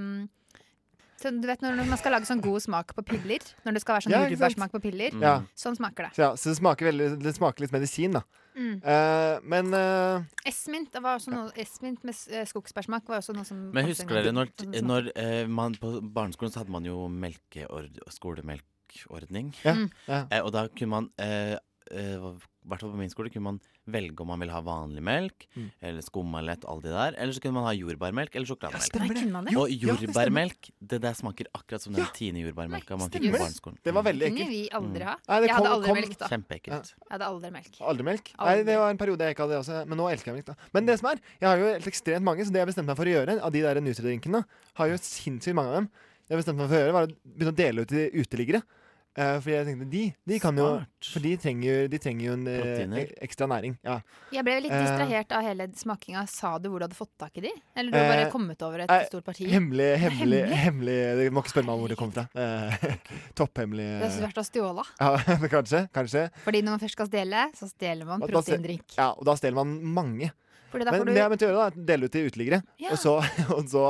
S15: sånn, Du vet når man skal lage sånn god smak på piller? Når det skal være sånn
S14: Ja, ikke sant?
S15: jordbærsmak på piller?
S14: Ja.
S15: Sånn smaker det.
S14: Så, ja, så det smaker, veldig, det smaker litt medisin, da.
S15: Mm.
S14: Eh, men eh,
S15: Esmint det var også noe, esmint med s- eh, skogsbærsmak var også noe som Sånn
S16: Men husker dere når,
S15: som smakte.
S16: når eh, man på barneskolen så hadde man jo melkeord, skolemelkordning.
S14: Ja, Mm. ja.
S16: Eh, og da kunne man eh, eh, hvert fall på min skole kunne man velge om man ville ha vanlig melk,
S14: Mm.
S16: eller skummalett, alle de der. Eller så kunne man ha jordbærmelk eller sjokolademelk.
S15: Nei, kunne man det? Jo,
S16: og
S15: ja, det
S16: jordbærmelk, det der smaker akkurat som den tiende jordbærmelka man fikk
S15: stemmer.
S16: på barneskolen. Mm.
S14: det var veldig
S15: Kunne
S14: ekkelt.
S15: vi aldri ha?
S14: Mm. Nei, det
S15: jeg hadde
S14: kom-
S15: aldri
S14: kom-
S15: melk, da.
S16: Kjempeekkelt.
S15: Jeg hadde aldri melk.
S14: Aldri melk? Nei, det var en periode jeg ikke hadde det også, men nå elsker jeg melk. da Men det som er, jeg har jo helt ekstremt mange, så det jeg bestemte meg for å gjøre, av de der Nutri-drinkene, har jo sinnssykt mange av dem. Det jeg bestemte meg for å gjøre, var å begynne å dele ut til uteliggere. Eh, fordi jeg tenkte de, de kan jo For de trenger jo, de trenger jo en eh,
S16: Proteiner.
S14: ek- ekstra næring. Ja.
S15: Jeg ble litt
S14: Eh,
S15: distrahert av hele smakinga. Sa du hvor du hadde fått tak i de? Eller du har bare
S14: Eh,
S15: kommet over et
S14: eh,
S15: stort parti?
S14: Hemmelig, hemmelig,
S15: Hemmelig?
S14: hemmelig Du må ikke spørre meg om hvor det kommer fra. Eh, Topphemmelig
S15: Det er så
S14: eh,
S15: svært å stjåle.
S14: Ja, kanskje. Kanskje.
S15: Fordi når man først skal stjele, så stjeler man
S14: Og da se-
S15: proteindrikk.
S14: Ja, og da stjeler man mange.
S15: Fordi da
S14: Men
S15: får du-
S14: det jeg begynte å gjøre, da, er å dele ut til uteliggere.
S15: Ja.
S14: Og, så, og så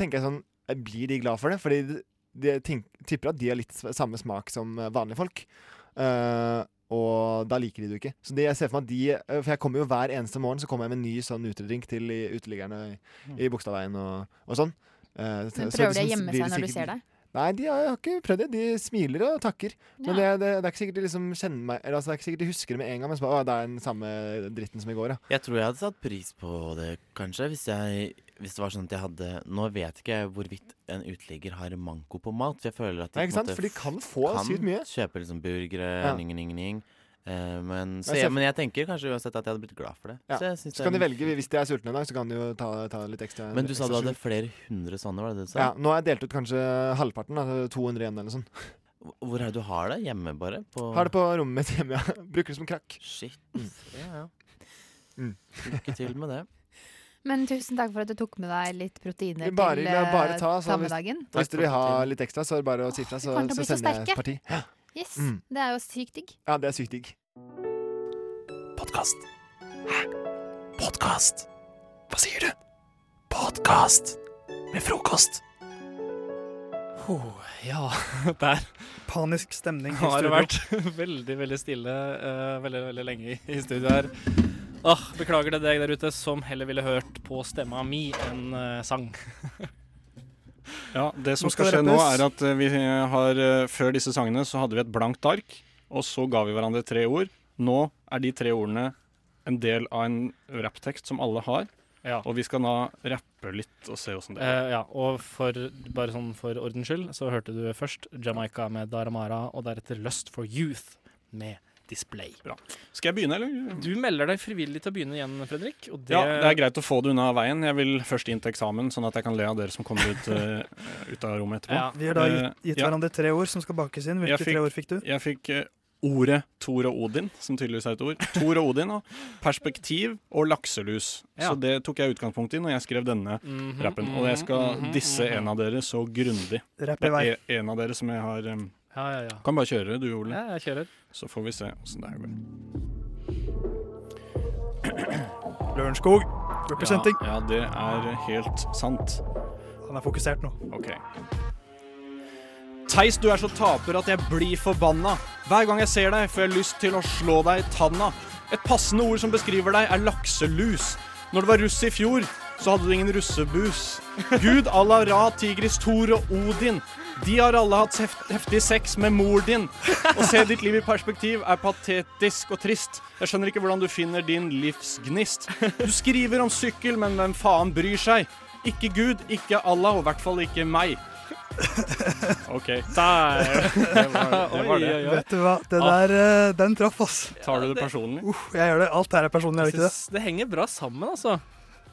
S14: tenker jeg sånn eh, Blir de glad for det? Fordi de- de tenk, tipper at de har litt s- samme smak som eh, vanlige folk. Eh, og da liker de det jo ikke. Så det jeg ser For meg at de eh, For jeg kommer jo hver eneste morgen Så kommer jeg med en ny sånn utedrink til i- uteliggerne i, i Bogstadveien og, og sånn.
S15: Mm. Men
S14: Eh, så- så
S15: prøver de å
S14: liksom
S15: gjemme
S14: blir
S15: seg når du
S14: sikkert-
S15: ser deg?
S14: Nei, de har har ikke prøvd det. De smiler og takker. Men det,
S15: Ja.
S14: det, det er ikke sikkert de liksom kjenner meg Eller altså, det er ikke sikkert de husker det med en gang. Men så bare, å, det er den samme dritten som i går, ja.
S16: Jeg tror jeg hadde satt pris på det, kanskje, hvis, jeg, hvis det var sånn at jeg hadde Nå vet ikke jeg hvorvidt en uteligger har manko på mat, for jeg føler at de,
S14: Nei,
S16: på en
S14: ikke sant?
S16: måte
S14: For de kan få
S16: kan
S14: sykt mye.
S16: kjøpe liksom burgere,
S14: Ja.
S16: ning, ning, ning. Eh, men, så
S14: Jeg ser
S16: jeg,
S14: for-
S16: men jeg tenker kanskje uansett at jeg hadde blitt glad for det.
S14: ja.
S16: Så jeg
S14: Så,
S16: synes det er
S14: kan de
S16: en-
S14: velge hvis de er sultne en dag, så kan de jo ta, ta litt ekstra.
S16: Men du sa du
S14: ekstra
S16: hadde
S14: sukker.
S16: flere hundre sånne, var det det du sa?
S14: ja, Nå har jeg delt ut kanskje halvparten. Da, 200 igjen eller noe sånt.
S16: Hvor er det du har det? Hjemme, bare? På
S14: Har det på rommet mitt hjemme. Ja. Bruker det som krakk.
S16: Shit.
S14: Mm.
S16: Ja, ja.
S14: Mm.
S16: Lykke til med det.
S15: Men tusen takk for at du tok med deg litt proteiner
S14: Bare,
S15: til
S14: la-
S15: eh,
S14: bare ta. Så hvis,
S15: sammedagen.
S14: hvis du vil ha litt ekstra, så er det bare å si fra, så,
S15: kommer til å
S14: så
S15: bli så
S14: sender jeg
S15: sterke.
S14: et parti. Ja.
S15: Yes,
S14: Mm.
S15: Det er jo sykt digg.
S14: Ja, det er sykt digg.
S1: Podkast. Hæ? Podkast? Hva sier du? Podkast med frokost.
S3: Oh, ja, der.
S5: Panisk stemning i
S3: Har det
S5: studio.
S3: vært veldig, veldig stille eh, veldig, veldig lenge i- i studio her. Åh, beklager til deg der ute som heller ville hørt på stemma mi enn eh, sang.
S4: Ja, det som
S3: Nå
S4: skal,
S3: skal det
S4: skje nå,
S3: rappes.
S4: er at eh, vi har eh, Før disse sangene så hadde vi et blankt ark, og så ga vi hverandre tre ord. Nå er de tre ordene en del av en rapptekst som alle har,
S3: Ja.
S4: og vi skal nå rappe litt og se åssen det går.
S3: Eh, ja, og for, bare sånn for ordens skyld, så hørte du først Jamaica med Daramara, og deretter Lust for Youth med Display.
S4: Skal jeg begynne, eller?
S3: Du melder deg frivillig til å begynne igjen, Fredrik. Og det,
S4: Ja, det er greit å få det unna veien. Jeg vil først inn til eksamen, sånn at jeg kan le av dere som kommer ut, eh, ut av rommet etterpå.
S5: Vi har da
S4: Eh,
S5: gitt, gitt
S4: ja.
S5: hverandre tre ord som skal bakes inn. Hvilke
S4: Jeg fikk-
S5: tre ord fikk du?
S4: Jeg fikk eh, ordet Thor og Odin, som tydeligvis er et ord. Thor og Odin, og perspektiv og lakselus.
S3: Ja.
S4: Så det tok jeg utgangspunkt i når jeg skrev denne
S3: Mhm,
S4: rappen. Og jeg skal
S3: mhm,
S4: disse
S3: mhm.
S4: en av dere så grundig.
S5: Rapp i
S4: Det
S5: vei.
S4: er en av dere som jeg har em,
S3: Ja, ja, ja.
S4: Kan bare kjøre, du, Ole.
S3: Ja, jeg kjører.
S4: Så får vi se åssen det her går.
S5: Lørenskog. Representing.
S4: Ja, ja, det er helt sant.
S5: Han er fokusert nå.
S4: Ok. Theis, du er så taper at jeg blir forbanna. Hver gang jeg ser deg, får jeg lyst til å slå deg i tanna. Et passende ord som beskriver deg, er lakselus. Når du var russ i fjor, så hadde du ingen russebus. Gud Allah Ra, Tigris, Thor og Odin. De har alle hatt heft heftig sex med mor din. Å se ditt liv i perspektiv er patetisk og trist. Jeg skjønner ikke hvordan du finner din livsgnist. Du skriver om sykkel, men hvem faen bryr seg? Ikke Gud, ikke Allah, og i hvert fall ikke meg. OK. Der. Det var det. Var det. Ah.
S5: Vet du hva, det der, eh, den traff, ass.
S4: Tar du det personlig?
S5: Uff, jeg gjør det. Alt her er personlig, er det ikke det?
S3: det henger bra sammen, altså.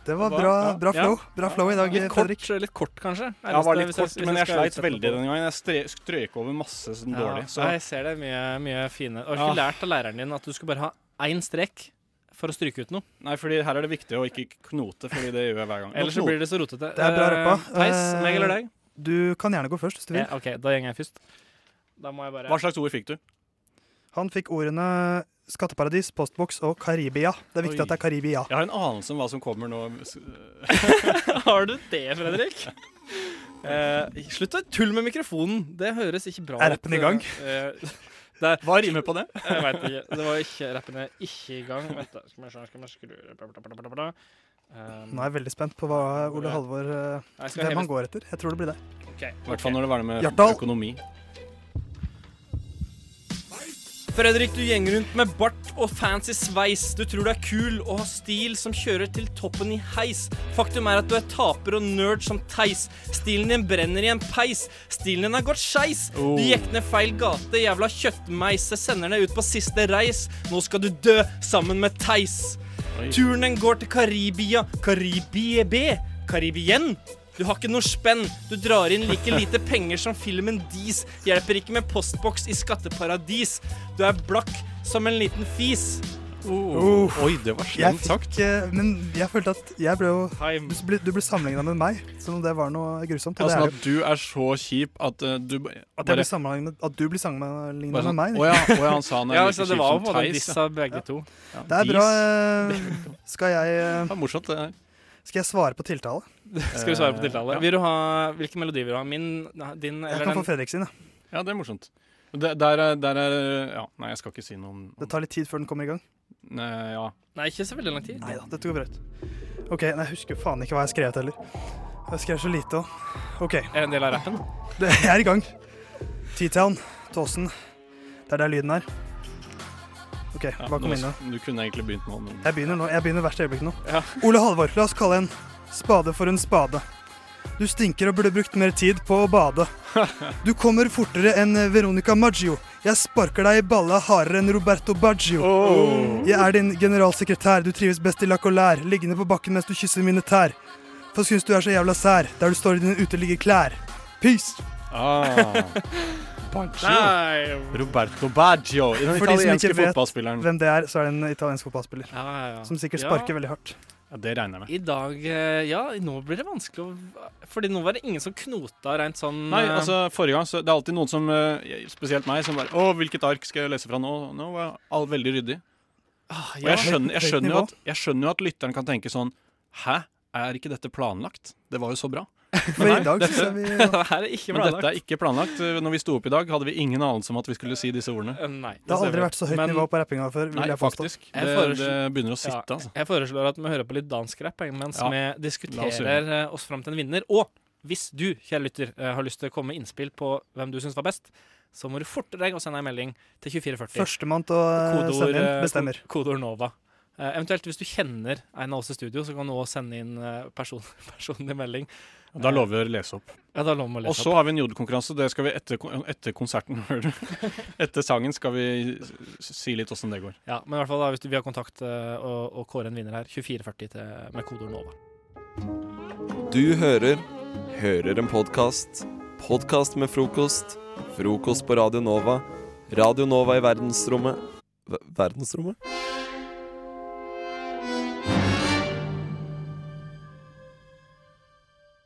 S5: Det var bra, bra
S3: Ja.
S5: flow bra flow i dag,
S3: litt kort, eh,
S5: Fredrik.
S3: Litt kort, kanskje.
S4: Ja, det var litt
S3: Hvis jeg-
S4: kort,
S3: hvis jeg
S4: men jeg
S3: skal
S4: sleit
S3: utsette
S4: veldig
S3: på-
S4: denne gangen. Jeg stre- strøk over masse sånn
S3: Ja,
S4: dårlig. Så
S3: nei, jeg ser det mye, mye fine. Har du ikke
S4: Ja.
S3: lært av læreren din at du skulle bare ha én strek for å stryke ut noe?
S4: Nei, fordi her er det viktig å ikke knote, fordi det gjør jeg hver gang.
S3: Ellers så
S4: Knote.
S3: blir det så rotete.
S5: Det er bra
S3: Eh,
S5: rappa.
S3: Theis,
S5: Eh,
S3: meg eller deg?
S5: Du kan gjerne gå først, hvis du vil.
S3: Ja, OK, da gjenger jeg først. Da må jeg bare
S4: Hva slags ord fikk du?
S5: Han fikk ordene skatteparadis, postboks og Karibia. Det er viktig at
S4: Oi.
S5: det er Karibia.
S4: Jeg har en anelse om hva som kommer nå.
S3: Har du det, Fredrik? Eh, slutt å tulle med mikrofonen. Det høres ikke bra ut.
S5: Er rappen i gang?
S3: Eh, det er-
S4: Hva rimer på det?
S3: Jeg vet ikke. Det var ikke rappen er ikke i gang. Vent, da. Skal vi se, skal vi skru um,
S5: Nå er jeg veldig spent på hva Ole Halvor eh,
S3: Nei, jeg skal
S5: Hvem
S3: heve-
S5: han går etter. Jeg tror det blir det.
S3: Ok.
S4: I hvert fall når det var det med
S5: Hjartdal.
S4: økonomi.
S3: Fredrik, du gjenger rundt med bart og fancy sveis. Du tror du er kul og har stil som kjører til toppen i heis. Faktum er at du er taper og nerd som Theis. Stilen din brenner i en peis. Stilen din har gått skeis. Du gikk ned feil gate, jævla kjøttmeis. Jeg sender deg ut på siste reis. Nå skal du dø sammen med Theis.
S4: Oi.
S3: Turen den går til Karibia, Karibiebe, Karibien. Du har ikke noe spenn. Du drar inn like lite penger som filmen Dis. Hjelper ikke med postboks i skatteparadis. Du er blakk som en liten fis.
S5: Oh.
S4: Oi, det var
S5: Jeg fikk, eh, men jeg følte at jeg ble jo
S3: Time.
S5: Du ble, du ble sammenligna med meg, som om det var noe grusomt.
S4: Ja,
S5: Og det
S4: sånn
S5: er
S4: at du er så kjip at eh, du ba-
S5: jo at, jeg ble sammenlignet- at du blir sammenligna med
S4: Bare sånn,
S5: meg.
S4: «Å ja, å ja, han sa han er
S3: Ja,
S4: like
S3: så
S4: kjip
S3: det var
S4: som
S3: på en
S4: Theis,
S3: diss
S4: ja.
S3: av begge to.
S4: Ja.
S5: Det er bra. eh, Skal jeg eh,
S4: Det er morsomt, det her.
S5: Skal jeg svare på tiltale?
S3: Skal vi svare på tiltale? Vil du ha, hvilken melodi vil du ha? Min, din
S5: Jeg
S3: eller
S5: kan
S3: den?
S5: få Fredrik sin. ja.
S4: Ja, det er morsomt. Der, der, er, der er Ja, nei, jeg skal ikke si noe om
S5: Det tar litt tid før den kommer i gang.
S4: Nei, ja.
S3: Nei, ikke så veldig lang tid.
S5: Nei da, dette går bra. ut. OK, nei, jeg husker faen ikke hva jeg skrev heller. Jeg skrev så lite òg. OK.
S3: Er det en del av rappen?
S5: Det jeg er i gang. T-Town, Tåsen. Det er der lyden er. OK, hva kom
S4: Nå-
S5: inn da?
S4: Du kunne egentlig begynt nå, men
S5: Jeg begynner nå, jeg begynner hvert øyeblikk nå.
S3: Ja.
S5: Ole Halvor, la oss kalle en spade for en spade. Du stinker og burde brukt mer tid på å bade. Du kommer fortere enn Veronica Maggio. Jeg sparker deg i balla hardere enn Roberto Baggio.
S3: Oh.
S5: Jeg er din generalsekretær, du trives best i lakk og lær. Liggende på bakken mens du kysser mine tær. For syns du er så jævla sær, der du står i dine uteliggerklær. Peace!
S4: ah.
S3: Nei.
S4: Roberto Baggio, den
S5: For de som
S4: italienske
S5: ikke vet
S4: fotballspilleren.
S5: hvem det er, så er det en italiensk fotballspiller.
S3: Ja, ja, ja.
S5: Som sikkert
S3: Ja.
S5: sparker veldig hardt.
S4: Ja, det regner jeg med.
S3: I dag eh, Ja, nå blir det vanskelig å Fordi nå var det ingen som knota rent sånn
S4: Nei,
S3: eh,
S4: altså forrige gang så Det er alltid noen som, eh, spesielt meg, som bare Å, hvilket ark skal jeg lese fra nå? Nå var alt veldig ryddig. Og
S3: ja.
S4: jeg skjønner, jeg,
S3: Høyt- høyt
S4: skjønner jo
S3: nivå.
S4: at, jeg skjønner jo at lytteren kan tenke sånn Hæ, er ikke dette planlagt? Det var jo så bra.
S5: For i dag syns jeg vi
S3: Det her er ikke
S4: Men
S3: planlagt.
S4: dette er ikke planlagt. Når vi sto opp i dag, hadde vi ingen anelse om at vi skulle si disse ordene.
S3: Eh, Nei,
S5: Det har aldri vært så høyt
S3: Men-
S5: nivå på rappinga før. Vil
S4: Nei,
S5: jeg påstå.
S4: faktisk. Det, det begynner å sitte,
S3: Ja,
S4: altså.
S3: Jeg foreslår at vi hører på litt dansk rap jeg, mens
S4: Ja,
S3: vi
S4: la oss
S3: diskuterer
S4: gjøre
S3: eh, oss fram til en vinner. Og hvis du, kjære lytter, eh, har lyst til å komme med innspill på hvem du syns var best, så må du forte deg å sende en melding til 2440.
S5: Førstemann til å eh,
S3: Kodeord,
S5: sende inn
S3: eh,
S5: bestemmer.
S3: ko- Kodeord Nova. Eh, eventuelt hvis du kjenner en av oss i studio, så kan du også sende inn eh, person, personlig melding. Eh,
S4: Da lover vi å lese opp.
S3: Ja, da lover vi å lese
S4: og så
S3: opp.
S4: har vi en jodelkonkurranse. Det skal vi etter, kon- etter konserten, hører du. Etter sangen skal vi s- si litt åssen det går.
S3: Ja, men i hvert fall da, hvis du vil ha kontakt eh, og, og kåre en vinner her, 2440 til, med kodeord Nova.
S1: Du hører Hører en podkast. Podkast med frokost. Frokost på Radio Nova. Radio Nova i verdensrommet Ver- Verdensrommet?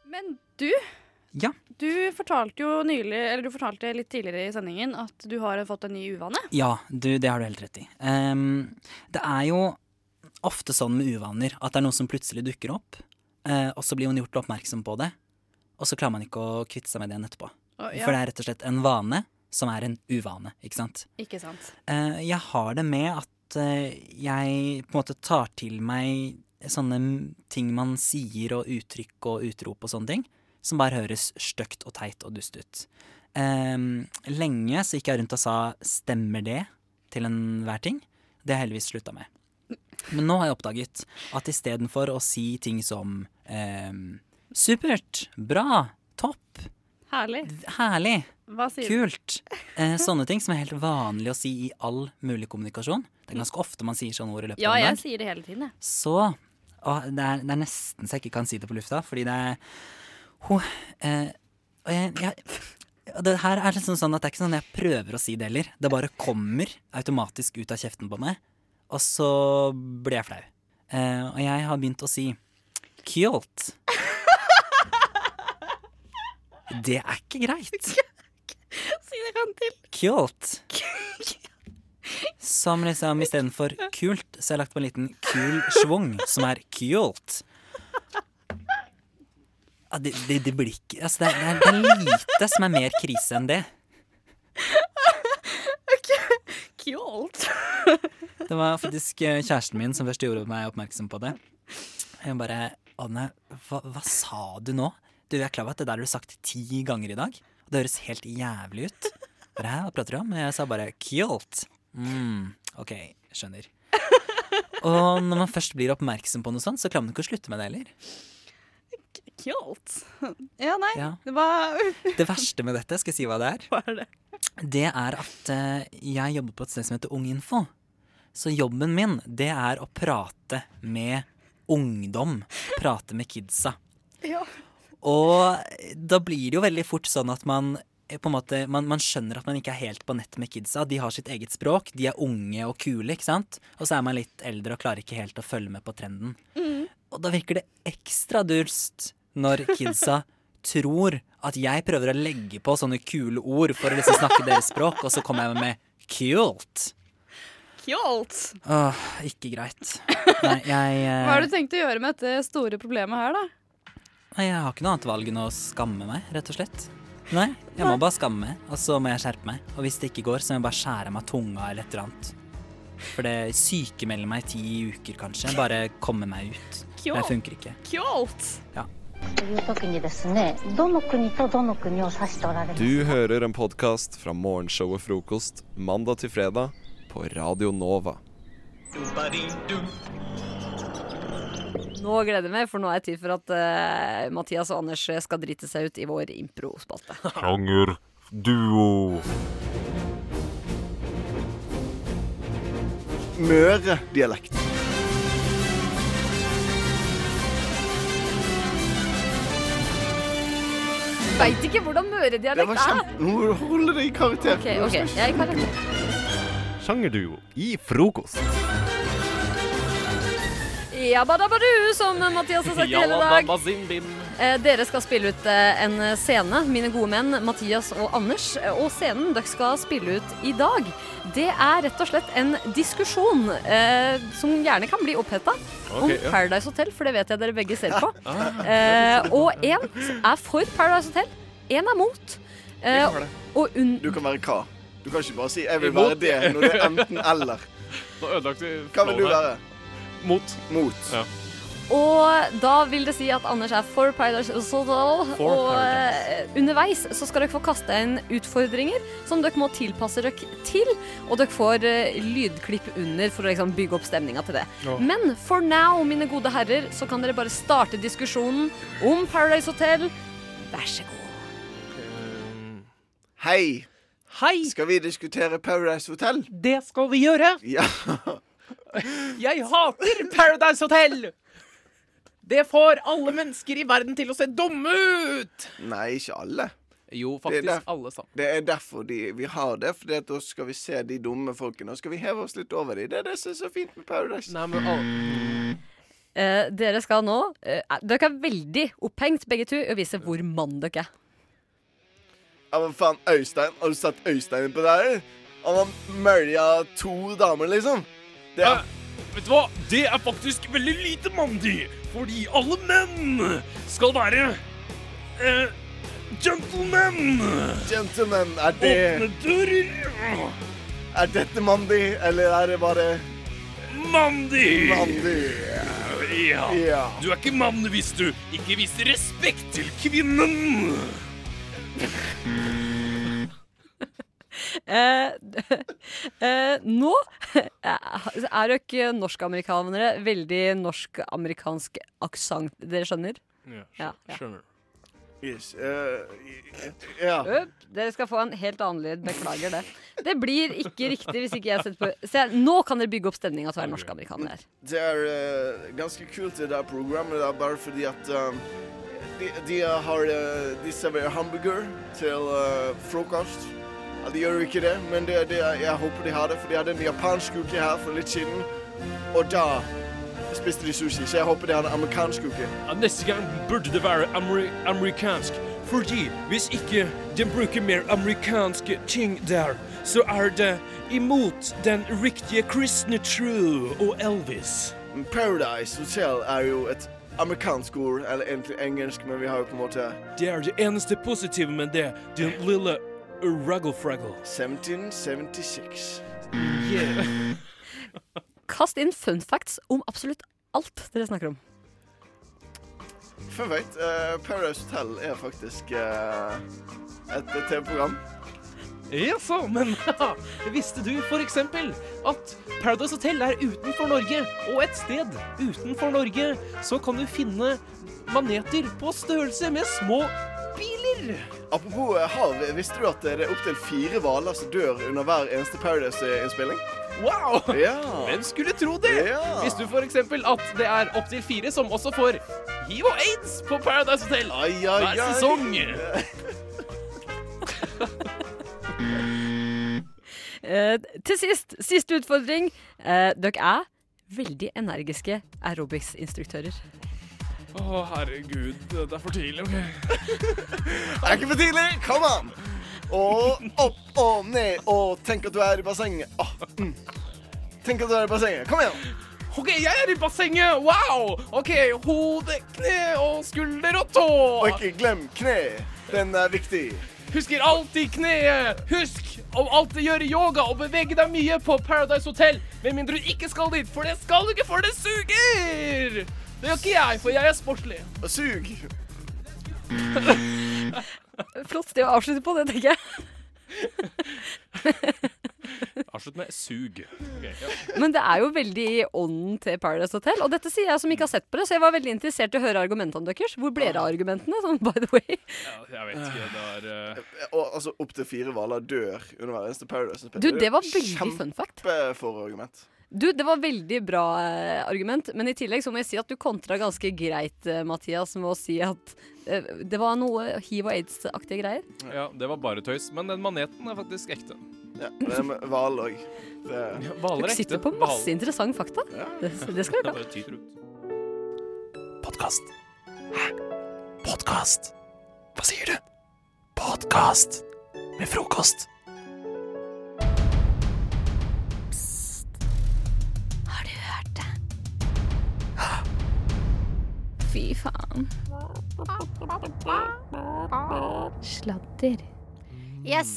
S6: Men du,
S2: Ja.
S6: du fortalte jo nylig, eller du fortalte litt tidligere i sendingen at du har fått en ny uvane.
S2: Ja, du, det har du helt rett i. Ehm, det er jo ofte sånn med uvaner at det er noe som plutselig dukker opp, eh, og så blir man gjort oppmerksom på det, og så klarer man ikke å kvitte seg med det igjen etterpå.
S6: Å, ja.
S2: For det er rett og slett en vane som er en uvane, ikke sant?
S6: Ikke sant?
S2: Eh, jeg har det med at eh, jeg på en måte tar til meg sånne m- ting man sier og uttrykk og utrop og sånne ting, som bare høres støkt og teit og dust ut. Eh, lenge så gikk jeg rundt og sa 'stemmer det?' til enhver ting. Det har jeg heldigvis slutta med. Men nå har jeg oppdaget at istedenfor å si ting som eh, 'supert', 'bra', 'topp',
S6: Herlig.
S2: 'herlig',
S6: Hva sier du?
S2: Kult. Eh, sånne ting som er helt vanlig å si i all mulig kommunikasjon. Det er ganske ofte man sier sånne ord i løpet
S6: Ja,
S2: av en
S6: jeg
S2: dag.
S6: sier det hele tiden, jeg.
S2: Så og det, er, det er nesten så jeg ikke kan si det på lufta, fordi det er ho, eh, og jeg, jeg, og det her er liksom sånn at det er ikke sånn jeg prøver å si det heller. Det bare kommer automatisk ut av kjeften på meg, og så blir jeg flau. Eh, og jeg har begynt å si kult. Det er ikke greit.
S6: Si det en gang til.
S2: Kult. Som liksom istedenfor kult, så har jeg lagt på en liten kul schwung, som er kult. Ja, det, det, det blir ikke Altså, det er, det, er, det er lite som er mer krise enn det.
S6: Kult.
S2: Det var faktisk eh, kjæresten min som først gjorde meg oppmerksom på det. Hun bare Anne, hva, hva sa du nå? Du, jeg er klar over at det der har du sagt ti ganger i dag. Og det høres helt jævlig ut. Bare, Hæ, hva prater du om? Jeg sa bare kult. Mm, OK, skjønner. Og når man først blir oppmerksom på noe sånt, så klarer man ikke å slutte med det heller.
S6: Kult. Ja, nei.
S2: Ja.
S6: Det var
S2: Det verste med dette, skal jeg si hva det er?
S6: Hva er det?
S2: Det er at eh, jeg jobber på et sted som heter Unginfo. Så jobben min, det er å prate med ungdom. Prate med kidsa.
S6: Ja.
S2: Og da blir det jo veldig fort sånn at man eh, på en måte, man, man skjønner at man ikke er helt på nett med kidsa. De har sitt eget språk, de er unge og kule, ikke sant? Og så er man litt eldre og klarer ikke helt å følge med på trenden.
S6: Mm.
S2: Og da virker det ekstra dulst når kidsa tror at jeg prøver å legge på sånne kule ord for å liksom snakke deres språk, og så kommer jeg med kult.
S6: Kult.
S2: Åh, ikke greit. Nei, jeg, eh,
S6: Hva har du tenkt å gjøre med dette store problemet her, da?
S2: nei, jeg har ikke noe annet valg enn å skamme meg, rett og slett. Nei, jeg må bare skamme meg, og så må jeg skjerpe meg. Og hvis det ikke går, så må jeg bare skjære av meg tunga eller et eller annet. For det sykemelder meg i ti uker, kanskje. Bare komme meg ut. Men det funker ikke.
S7: という時にですねどの国とどの国を指しておられます
S1: Du hører en podkast fra morgenshowet Frokost mandag til fredag på Radio Nova.
S9: Nå gleder jeg meg, for nå er det tid for at eh, Mathias og Anders skal drite seg ut i vår impro-spalte.
S17: Sjangerduo.
S10: Møre-dialekt.
S9: Veit ikke hvordan møredialekt er.
S17: Nå holder det i karakter.
S9: Ok, ok, jeg kan
S17: Sjangerduo i frokost.
S9: Jabba dabba du, som Mathias har sagt hele dag.
S8: Jalla, dabba, zim, bim.
S9: Eh, Dere skal spille ut eh, en scene, mine gode menn Mathias og Anders. Eh, Og scenen dere skal spille ut i dag, det er rett og slett en diskusjon eh, som gjerne kan bli oppheta om
S12: Ok, ja.
S9: Paradise Hotel, for det vet jeg dere begge ser på.
S12: Ah.
S9: Eh, og én er for Paradise Hotel, én er mot. Eh,
S10: kan være det.
S9: og un
S10: Du kan være hva? Du kan ikke bare si 'jeg vil
S8: Imot.
S10: være det' når det er enten-eller.
S8: Nå ødelagte vi
S10: Hva vil du
S8: flowet her.
S10: være?
S8: Mot.
S10: Mot.
S8: Ja.
S9: Og da vil det si at Anders er for Paradise Hotel.
S10: For
S9: og eh, underveis så skal dere få kaste inn utfordringer som dere må tilpasse dere til. Og dere får eh, lydklipp under for å liksom bygge opp stemninga til det.
S12: Ja.
S9: Men for now, mine gode herrer, så kan dere bare starte diskusjonen om Paradise Hotel. Vær så god.
S10: Hei.
S18: Hei.
S10: Skal vi diskutere Paradise Hotel?
S18: Det skal vi gjøre.
S10: Ja.
S18: Jeg hater Paradise Hotel! Det får alle mennesker i verden til å se dumme ut!
S10: Nei, ikke alle.
S8: Jo,
S18: faktisk
S8: alle sammen.
S10: Det er derfor de, vi har det. For da skal vi se de dumme folkene, og skal vi heve oss litt over dem. Det er det som er så fint med Paradise.
S8: Nei, men
S10: Mm.
S8: alle...
S9: Eh, dere skal nå eh, Dere er veldig opphengt begge to i å vise hvor mann dere er.
S10: Ja, men faen, Øystein, har du sett Øystein på det her? Han har mølja to damer, liksom. Det er
S3: Vet du hva? Det er faktisk veldig lite mandig, fordi alle menn skal være eh, gentlemen.
S10: Gentlemen, er det
S3: Åpne dører.
S10: Er dette mandig, eller er det bare
S3: Mandig!
S10: Mandig.
S3: Ja.
S10: Ja.
S3: Du er ikke mann hvis du ikke viser respekt til kvinnen.
S9: Eh, eh, nå er dere ikke norskamerikanere. Veldig norsk-amerikansk aksent. Dere skjønner? Ja, ja.
S10: Yes. eh, ja.
S9: Øp, dere skal få en helt annen lyd. Beklager det. Det blir ikke riktig hvis ikke jeg setter på Se, nå kan dere bygge opp stemninga til å være norsk-amerikaner her.
S10: Det er eh, ganske kult det der programmet der, bare fordi at um, de, de har eh, De serverer hamburger til eh, frokost. Ja, de gjør jo ikke det, men det, det, jeg håper de har det, for de hadde en japansk uke her for litt siden. Og da spiste de sushi, så jeg håper de har en amerikansk uke.
S3: Ja, Neste gang burde det være ameri amerikansk. Fordi hvis ikke de bruker mer amerikanske ting der, så er det imot den riktige kristne tro og Elvis.
S10: Men Paradise Hotel er jo et amerikansk ord, eller egentlig engelsk, men vi har jo på en måte
S3: Det er det eneste positive med det, din lille rugglefraggle.
S10: 1776.
S9: Kast inn fun facts om absolutt alt dere snakker om.
S10: Fun fact, eh, Paradise Hotel er faktisk eh, et TV-program.
S18: Jaså, men haha, visste du f.eks. at Paradise Hotel er utenfor Norge, og et sted utenfor Norge så kan du finne maneter på størrelse med små biler?
S10: Apropos eh, hav, visste du at det er opptil fire hvaler som dør under hver eneste Paradise-innspilling?
S18: Wow!
S10: Ja.
S18: Hvem skulle tro det?
S10: Ja.
S18: Visste du f.eks. at det er opptil fire som også får hiv og aids på Paradise Hotel
S10: ai,
S18: hver
S10: ai.
S18: sesong?
S9: Eh, til sist, siste utfordring. Eh, dere er veldig energiske aerobics-instruktører.
S8: Å, herregud. Det er for tidlig. ok.
S10: Det er ikke for tidlig! Kom an! Og opp og ned og tenk at du er i bassenget. Åh, mm. Tenk at du er i bassenget. Kom igjen!
S18: OK, jeg er i bassenget! Wow! OK, hode, kne og skulder og tå.
S10: Og ikke glem kne. Den er viktig.
S18: Husker alltid kneet. Husk å alltid gjøre yoga og bevege deg mye på Paradise Hotel. Med mindre du ikke skal dit, for det skal du ikke, for det suger! Det gjør ikke jeg, for jeg er sportlig.
S10: Og sug.
S9: Flott sted å avslutte på, det tenker jeg.
S8: Avslutt med sug. Ok, ja.
S9: Men det er jo veldig i ånden til Paradise Hotel. Og dette sier jeg som ikke har sett på det, så jeg var veldig interessert i å høre argumentene deres. Hvor ble det av argumentene? Sånn, by the way.
S8: Jeg vet ikke. Det eh, er
S10: Og altså opptil fire hvaler dør under hver eneste Paradise-innspilling.
S9: Du, det var veldig fun fact.
S10: Kjempeforargument.
S9: Du, det var veldig bra eh, argument, men i tillegg så må jeg si at du kontra ganske greit, eh, Mathias, med å si at eh, det var noe hiv- og aids-aktige greier.
S8: Ja, det var bare tøys. Men den maneten er faktisk ekte.
S10: Ja, det er med hval òg.
S8: Hvaler
S9: Dere
S8: er ekte.
S9: sitter på masse
S8: Hval-
S9: interessante fakta. Det, det skal
S8: Det
S9: dere
S8: bare
S9: ha.
S8: tyter ut.
S1: Podkast. Hæ? Podkast. Hva sier du? Podkast med frokost.
S6: Har du hørt det? Fy faen.
S12: Sladder.
S11: Yes!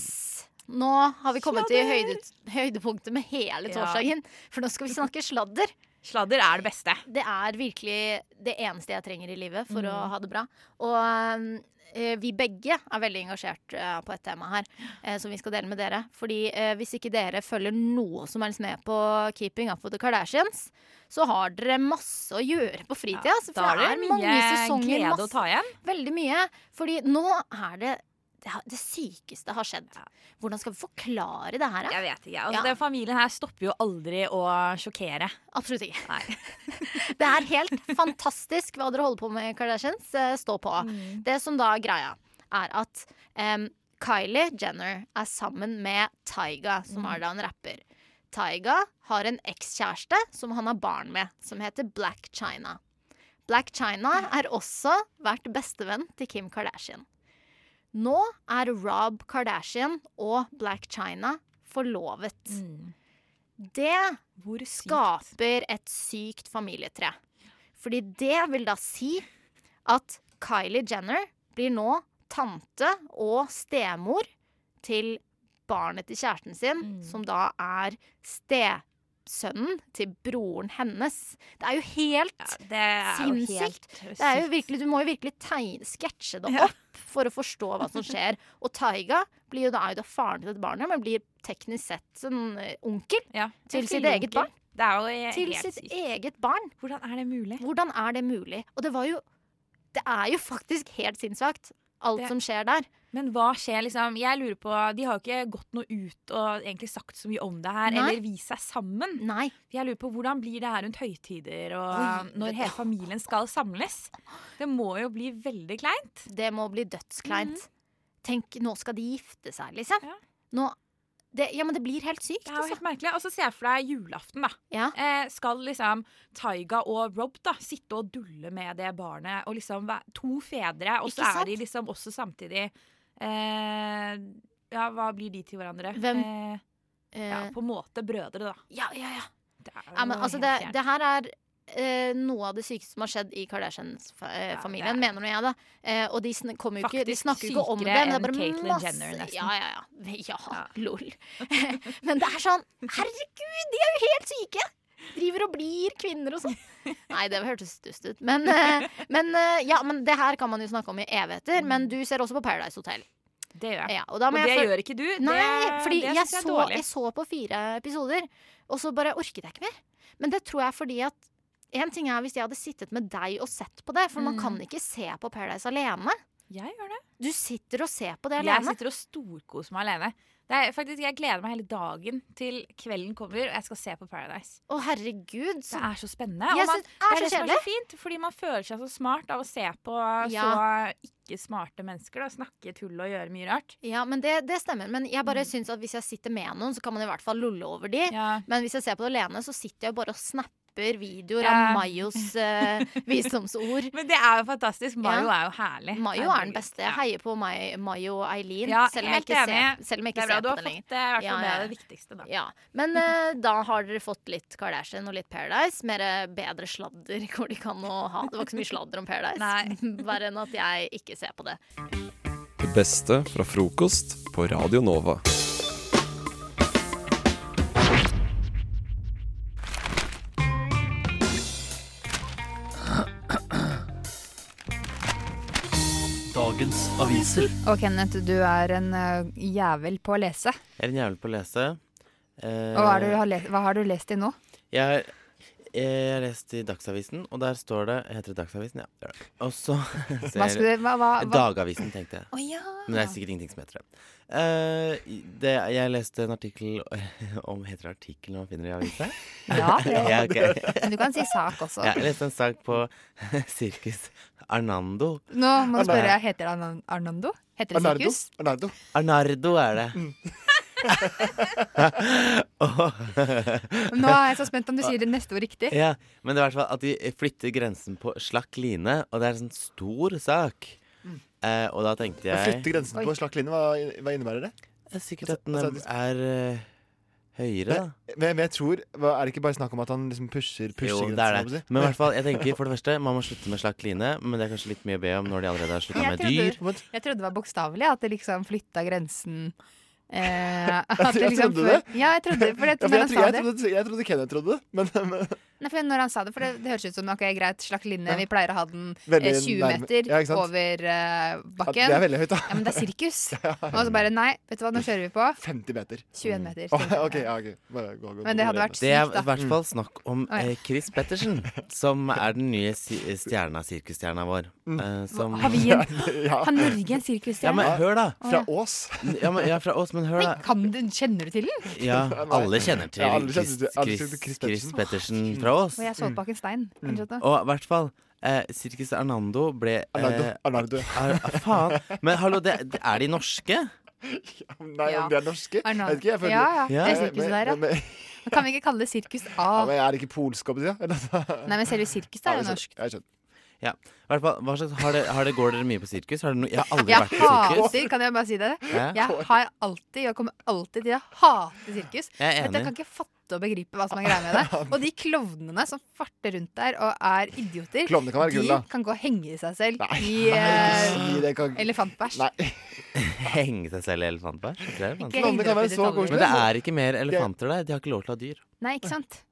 S11: Nå har vi kommet til høyde, høydepunktet med hele torsdagen. For nå skal vi snakke sladder.
S12: Sladder er det beste.
S11: Det er virkelig det eneste jeg trenger i livet for å
S12: Mm.
S11: ha det bra. Og eh, vi begge er veldig engasjert eh, på et tema her eh, som vi skal dele med dere. Fordi eh, hvis ikke dere følger noe som helst med på Keeping up with the Kardashians, så har dere masse å gjøre på fritida. altså,
S12: da
S11: for det
S12: er
S11: er
S12: det
S11: mange
S12: mye
S11: sesonger.
S12: glede å
S11: masse-
S12: ta igjen.
S11: Veldig mye. Fordi nå er det det, har- det sykeste har skjedd. Hvordan skal vi forklare det her? da?
S12: Jeg vet ikke. Altså,
S11: Ja.
S12: Den familien her stopper jo aldri å sjokkere.
S11: Absolutt ikke. Det er helt fantastisk hva dere holder på med, Kardashians. Eh, Stå på.
S12: Mm.
S11: Det som da er greia, er at em, Kylie Jenner er sammen med Taiga, som
S12: Mm.
S11: er da en rapper. Taiga har en ekskjæreste som han har barn med, som heter Black China. Black China er også vært bestevenn til Kim Kardashian. Nå er Rob Kardashian og Black China forlovet.
S12: Mm.
S11: Det skaper et sykt familietre. Fordi det vil da si at Kylie Jenner blir nå tante og stemor til barnet til kjæresten sin,
S12: Mm.
S11: som da er stesønnen til broren hennes. Det er jo helt
S12: er jo helt
S11: sinnssykt. det er jo
S12: sykt.
S11: virkelig, du må jo virkelig tegne, sketsje det
S12: Ja.
S11: opp for å forstå hva som skjer. Og Taiga blir jo da, er jo da faren til dette barnet, men blir teknisk sett en eh, onkel til
S12: en
S11: sitt eget
S12: filleonkel.
S11: barn.
S12: Det er jo
S11: til
S12: helt
S11: sitt eget barn.
S12: Hvordan er det mulig?
S11: Hvordan er det mulig? Og det var jo Det er jo faktisk helt sinnssvakt, alt
S12: Det-
S11: som skjer der.
S12: Men hva skjer, liksom? Jeg lurer på, De har jo ikke gått noe ut og egentlig sagt så mye om det her,
S11: Nei.
S12: eller vist seg sammen.
S11: Nei.
S12: Jeg lurer på, Hvordan blir det her rundt høytider og
S11: Oi,
S12: når hele familien skal samles? Det må jo bli veldig kleint. Mhm.
S11: Det må bli dødskleint. Tenk, nå skal de gifte seg, liksom. Nå det, Ja, men det blir helt sykt. altså.
S12: Det er jo helt merkelig. Og så ser jeg for deg julaften, da. Eh, skal liksom Taiga og Rob da sitte og dulle med det barnet, og liksom væ- to fedre, og
S11: Ikke
S12: så
S11: sant?
S12: er de liksom også samtidig eh, Ja, hva blir de til hverandre?
S11: Hvem?
S12: Eh, ja, på en måte brødre, da.
S11: Ja, ja, ja.
S12: Det er
S11: Ja, men
S12: jo
S11: altså,
S12: helt
S11: det,
S12: fjernt.
S11: det her er eh, noe av det sykeste som har skjedd i Kardashian-familien, mener nå jeg, da. Eh, og de, sn kommer jo ikke, de
S12: Faktisk
S11: snakker jo ikke om det.
S12: sykere
S11: Men det er
S12: enn
S11: bare
S12: Caitlyn
S11: masse,
S12: Jenner, nesten.
S11: Ja, ja, ja. ja lol. men det er sånn Herregud, de er jo helt syke! Driver og blir kvinner og sånn. Nei, det hørtes dust ut. Men, eh, men, eh, ja, men det her kan man jo snakke om i evigheter. Men du ser også på Paradise Hotel.
S12: Det gjør jeg.
S11: Ja, og da må
S12: Og
S11: jeg
S12: det
S11: føl-
S12: gjør ikke du. Det-
S11: Nei, fordi
S12: det
S11: jeg,
S12: synes jeg er
S11: så,
S12: dårlig.
S11: jeg så på fire episoder, og så bare orket jeg ikke mer. Men det tror jeg er fordi at En ting er hvis jeg hadde sittet med deg og sett på det, for man
S12: Mm.
S11: kan ikke se på Paradise alene.
S12: Jeg gjør det.
S11: Du sitter og ser på det
S12: Jeg
S11: alene.
S12: sitter og storkoser meg alene. Det er faktisk, Jeg gleder meg hele dagen til kvelden kommer og jeg skal se på Paradise.
S11: Å, herregud.
S12: Det er så spennende.
S11: Jeg
S12: og man,
S11: synes
S12: det er
S11: det er
S12: det
S11: så
S12: som er så
S11: kjedelig.
S12: fint, fordi man føler seg så smart av å se på
S11: Ja.
S12: så ikke smarte mennesker. Da, snakke tull og gjøre mye rart.
S11: Ja, men det, det stemmer. Men jeg
S12: Mm.
S11: bare synes at hvis jeg sitter med noen, så kan man i hvert fall lolle over de. Men hvis jeg ser på det alene, så sitter jeg bare og snapper videoer
S12: Ja.
S11: av Mayos eh, visdomsord.
S12: Men det er jo fantastisk. Mayo
S11: Ja.
S12: er jo herlig.
S11: Mayo er den beste. Jeg heier på May, Mayo og Eileen,
S12: Ja,
S11: selv om
S12: helt
S11: jeg ikke
S12: enig.
S11: ser, selv om jeg
S12: Det
S11: ikke
S12: er bra.
S11: ser
S12: Du
S11: på
S12: har
S11: den lenger.
S12: fått det, i hvert fall
S11: Ja,
S12: det
S11: ja,
S12: er
S11: ja.
S12: det viktigste, da.
S11: Ja, Men eh, da har dere fått litt Kardashian og litt Paradise. Mer eh, bedre sladder går det ikke an å ha. Det var ikke så mye sladder om Paradise. Bare enn at jeg ikke ser på det.
S1: Det beste fra frokost på Radio Nova.
S16: Dagens aviser.
S15: Og Kenneth, du er en eh, jævel på å lese.
S16: Jeg er en jævel på å lese. Eh,
S15: Og hva, er det du har lest, hva har du lest i nå?
S16: Jeg har, jeg har lest i Dagsavisen, og der står det Heter det Dagsavisen? Ja. det gjør det. Og så ser
S15: Hva skulle- hva- hva- hva-
S16: Dagavisen, tenkte jeg.
S15: Å, ja.
S16: Men det er sikkert ingenting som heter det. Eh, det jeg leste en artikkel om Heter det artikkel når man finner det i avisa?
S15: Ja, det,
S16: ja, ok.
S15: Men du kan si sak også.
S16: Ja, jeg leste en sak på Sirkus Arnando.
S15: Nå må du spørre, heter det Arnan- Arnando? Heter det sirkus?
S16: Arnardo. Mm. Arnardo er det. Og-
S15: Nå er jeg så spent om du sier det neste ord riktig.
S16: Ja, men det er i hvert fall at de flytter grensen på slakk line, og det er en sånn stor sak.
S15: Mm.
S16: Eh, og da tenkte
S14: Å
S16: jeg
S14: flytte grensen på slakk linje, hva, hva innebærer det? Altså,
S16: Sikkert at den er eh, høyere, da.
S14: Men, men jeg tror, hva, Er det ikke bare snakk om at han liksom pusher, pusher
S16: Jo, det er
S14: grensen?
S16: det. Men i hvert fall, jeg tenker for det første, man må slutte med slakk line. Men det er kanskje litt mye å be om når de allerede har slutta
S15: Jeg
S16: med dyr.
S15: trodde, jeg trodde det var bokstavelig, at det liksom flytta grensen eh, at
S14: Jeg
S15: det liksom,
S14: trodde det.
S15: Ja, jeg trodde for det.
S14: Ja, for
S15: når
S14: jeg,
S15: han sa
S14: tro- jeg,
S15: det-
S14: trodde, jeg trodde Kenneth trodde det, men, men
S15: Nei, for når han sa det, for det, det høres ut som ok, greit, slakk linje, vi pleier å ha den
S14: Veldig
S15: eh, 20
S14: nærme.
S15: meter
S14: Ja, ikke sant?
S15: over eh, bakken.
S14: Ja, det er veldig høyt, da.
S15: Ja, men det er sirkus. Og så bare nei, vet du hva, nå kjører vi på
S14: 50 meter.
S15: 21 meter.
S14: Å, ok, ja, ok. Bare gå, gå,
S15: Men
S14: gå
S15: det hadde
S14: videre.
S15: vært
S16: Det
S15: sykt,
S16: er i hvert
S15: da.
S16: fall snakk om
S15: Oi.
S16: eh, Chris Pettersen, som er den nye si eh, stjerna, sirkusstjerna vår.
S15: Mm.
S16: eh, som-
S15: Har vi en Har Norge en sirkusstjerne?
S16: Ja, men hør, da.
S15: Å, ja.
S14: Ås.
S16: Ja, men, ja, fra Ås, men hør,
S15: Nei,
S16: da.
S15: kan du, kjenner du til den?
S16: Ja, alle kjenner til
S14: Ja, alle kjenner
S16: Chris,
S14: til- alle kjenner
S16: Chris,
S14: til Chris
S16: Chris,
S14: Pettersen. Mm.
S16: Pettersen fra oss.
S15: Og jeg så bak en stein. kanskje at det-
S16: Og i hvert fall eh, Sirkus Arnando ble eh,
S14: Arnardo, Arnardo.
S16: Ar, ah, faen. Men hallo, det, det, er de norske?
S14: Nei, om de er norske? Jeg vet ikke, jeg føler
S15: Ja, ja. Det er
S14: Men-
S15: sirkuset
S14: men-
S15: der, ja.
S14: men- men-
S15: Men Kan vi ikke kalle det sirkus A?
S14: ja, men er det ikke polske oppi sida?
S15: Nei, men selve sirkuset er jo norsk.
S14: Jeg skjønner.
S16: Ja. I hvert fall, hva slags, har det, har det, går dere mye på sirkus? Har det no, jeg har aldri
S15: Jeg
S16: vært på sirkus.
S15: hater, kan jeg bare si det?
S16: Ja.
S15: Jeg har alltid, jeg kommer alltid til å hate sirkus.
S16: Jeg er
S15: Vet du, jeg
S16: enig.
S15: kan ikke fatte og begripe hva som er greia med det. Og de klovnene som farter rundt der og er idioter,
S14: Klovner kan være gull, da.
S15: de kan gå og henge seg selv i
S14: Nei,
S15: eh,
S14: si det, kan-
S15: elefantbæsj.
S16: Henge seg selv i elefantbær? Det er elefantbær.
S15: Ikke henge deg opp i detaljer.
S16: Men det er ikke mer elefanter der. De har ikke lov til å ha dyr.
S15: Nei, ikke sant?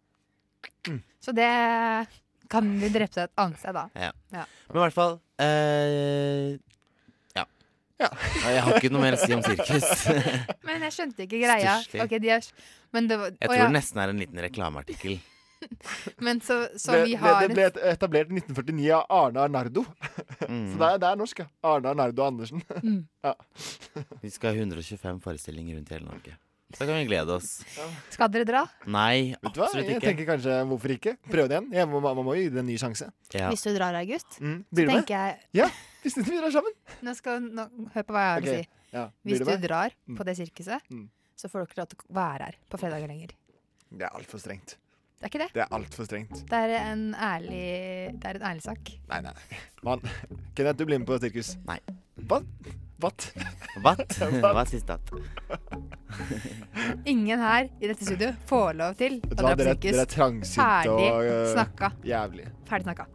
S14: Mm.
S15: Så det kan vi drepe deg et annet sted, da.
S16: Ja.
S15: Ja.
S16: Men i hvert fall eh, ja. Jeg har ikke noe mer å si om sirkus. Jeg
S15: Men jeg skjønte ikke greia.
S16: Stusslig.
S15: Ok, de er... Men, det var,
S16: tror
S15: å ja.
S16: det nesten er en liten reklameartikkel.
S15: Men så, så
S14: Det,
S15: vi
S14: det,
S15: har
S14: det ble et- etablert i 1949 av Arne Arnardo. Så det er, det er norsk, ja. Arne Arnardo Andersen.
S15: Mm.
S14: Ja.
S16: Vi skal ha 125 forestillinger rundt i hele Norge. Så da kan vi glede oss.
S15: Skal dere dra?
S16: Nei,
S14: Vet du hva?
S16: absolutt
S14: Jeg
S16: ikke.
S14: tenker kanskje hvorfor ikke? Prøv det igjen. Jeg må, man må jo gi det en ny sjanse.
S16: Ja.
S15: Hvis du drar, August,
S14: Mm,
S15: så
S14: blir du med?
S15: tenker jeg
S14: Ja, hvis vi drar sammen.
S15: Nå skal, nå, hør på hva jeg har
S14: Ok,
S15: å si.
S14: ja. Blir
S15: Hvis
S14: du
S15: du
S14: med?
S15: drar
S14: Mm.
S15: på det sirkuset,
S14: Mm.
S15: så får du ikke lov til å være her på fredager lenger.
S14: Det er altfor strengt.
S15: Det er ikke det?
S14: Det er altfor strengt.
S15: Det er en ærlig, det er en ærlig sak.
S14: Nei, nei. nei. Man, Kenneth, du blir med på sirkus.
S16: Nei.
S14: Hva? Vatt?
S16: Vatt? Hva siste at?
S15: Ingen her i dette studio får lov til å
S14: Vet du hva,
S15: dra på
S14: Dere,
S15: sirkus.
S14: dere er trangsynte
S15: Ferdig
S14: og eh,
S15: snakka.
S14: jævlig.
S15: Ferdig snakka.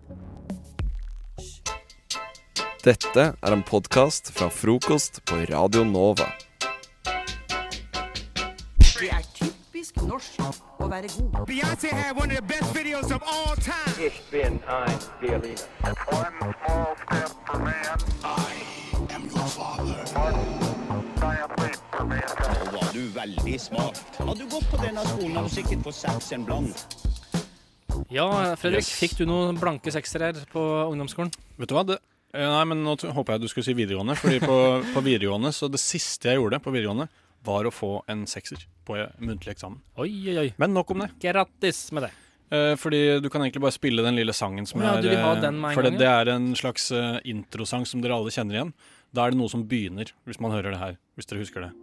S1: Dette er en podkast fra frokost på Radio Nova.
S19: Det er typisk norsk å være god.
S20: Beyonce had one of the best videos of all time. It's been time, dearly. One small step for man. I am your father. Nå var du veldig smart. Hadde du gått på denne skolen, hadde du sikkert fått seks en blant.
S3: Ja, Fredrik, fikk du noen blanke seksere her på ungdomsskolen?
S4: Vet du hva? Det, eh, nei, men nå t- håper jeg du skulle si videregående. Fordi på, på videregående, så det siste jeg gjorde på videregående, var å få en sekser på eh, muntlig eksamen.
S3: Oi, oi, oi.
S4: Men nok om det.
S3: Grattis med det.
S4: Eh, fordi du kan egentlig bare spille den lille sangen som
S3: Å ja,
S4: er
S3: du vil ha
S4: eh,
S3: den med en
S4: For det,
S3: gang,
S4: det er en slags eh, introsang som dere alle kjenner igjen. Da er det noe som begynner, hvis man hører det her. Hvis dere husker det.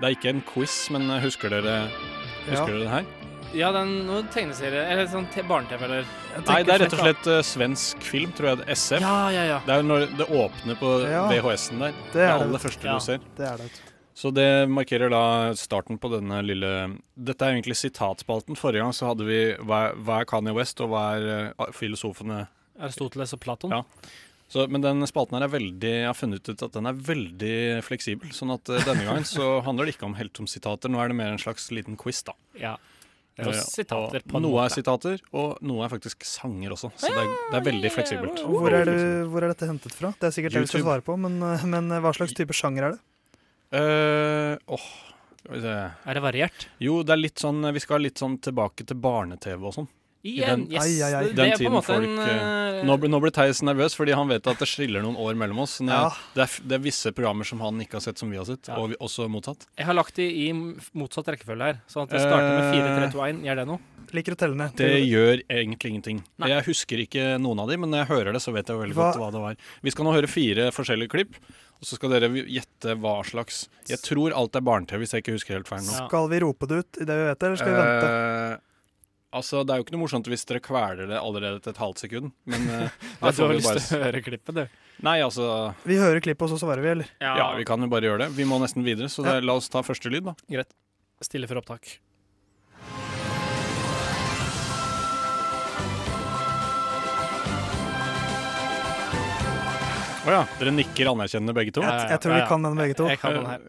S4: Det er ikke en quiz, men eh, husker dere,
S3: Ja.
S4: husker dere den her?
S3: Ja, det er noen tegneserier, eller sånn te- barne-TV, eller
S4: Nei, det er rett og
S3: sånn
S4: slett eh, svensk film, tror jeg. det- SF.
S3: Ja, ja, ja.
S4: Det er jo når det åpner på
S5: Ja.
S4: VHS-en der.
S5: Det er det,
S4: aller
S5: vet du.
S4: første
S5: Ja,
S4: du ser.
S5: det er det, vet
S4: Så det markerer da starten på denne lille Dette er jo egentlig sitatspalten. Forrige gang så hadde vi hva er, hva er Kanye West, og hva er eh, filosofene
S3: Aristoteles og Platon.
S4: Ja. Så, men den spalten her er veldig Jeg har funnet ut at den er veldig fleksibel. Sånn at eh, denne gangen så handler det ikke om helt om sitater. Nå er det mer en slags liten quiz, da.
S3: Ja.
S4: Eh,
S3: Og sitater på en
S4: noe
S3: måte. Ah,
S4: er sitater, og noe er faktisk sanger også. Så det er, det er veldig fleksibelt.
S5: Og Hvor er, du, hvor er dette hentet fra? Det er sikkert det vi skal
S4: YouTube.
S5: svare på, men, eh, men eh, hva slags type sjanger er det?
S4: Eh, åh, skal vi se.
S3: Er det variert?
S4: Jo, det er litt sånn, vi skal litt sånn tilbake til barne-TV og sånn. I
S3: Igjen, yes. Ai, ai, ai.
S4: Den
S3: Det er på en
S4: tiden
S3: måte
S4: folk
S3: en,
S4: eh,
S3: eh,
S4: nå, ble- nå ble Theis nervøs, fordi han vet at det skiller noen år mellom oss. Men
S3: Ja.
S4: Det, er, f- det er visse programmer som han ikke har sett, som vi har sett, og vi, også mottatt.
S3: Jeg har lagt de i motsatt rekkefølge her, sånn at jeg starter med 4, 3, 2, 1. Gjør det nå?
S5: Eh. Liker å telle ned.
S4: Det gjør egentlig ingenting.
S3: Nei.
S4: Jeg husker ikke noen av de, men når jeg hører det, så vet jeg veldig
S5: Hva-
S4: godt hva det var. Vi skal nå høre fire forskjellige klipp, og så skal dere gjette hva slags Jeg tror alt er barne-TV, hvis jeg ikke husker helt feil nå.
S5: Skal vi rope det ut idet vi vet det, eller skal vi vente?
S4: Eh, Altså, Det er jo ikke noe morsomt hvis dere kveler det allerede etter et halvt sekund. Men eh,
S8: Ja,
S4: da
S8: du
S4: får
S8: har
S4: vi
S8: lyst
S4: bare-
S8: til å høre klippet, du.
S4: Nei, altså
S5: Vi hører klippet, og så svarer vi, eller?
S4: ja. vi kan jo bare gjøre det. Vi må nesten videre, så det, la oss ta første lyd, da.
S3: Greit. Stille for opptak.
S4: Å ja. Dere nikker anerkjennende begge to?
S5: Jeg, jeg tror vi kan den begge to. Eh,
S4: Jeg kan den her.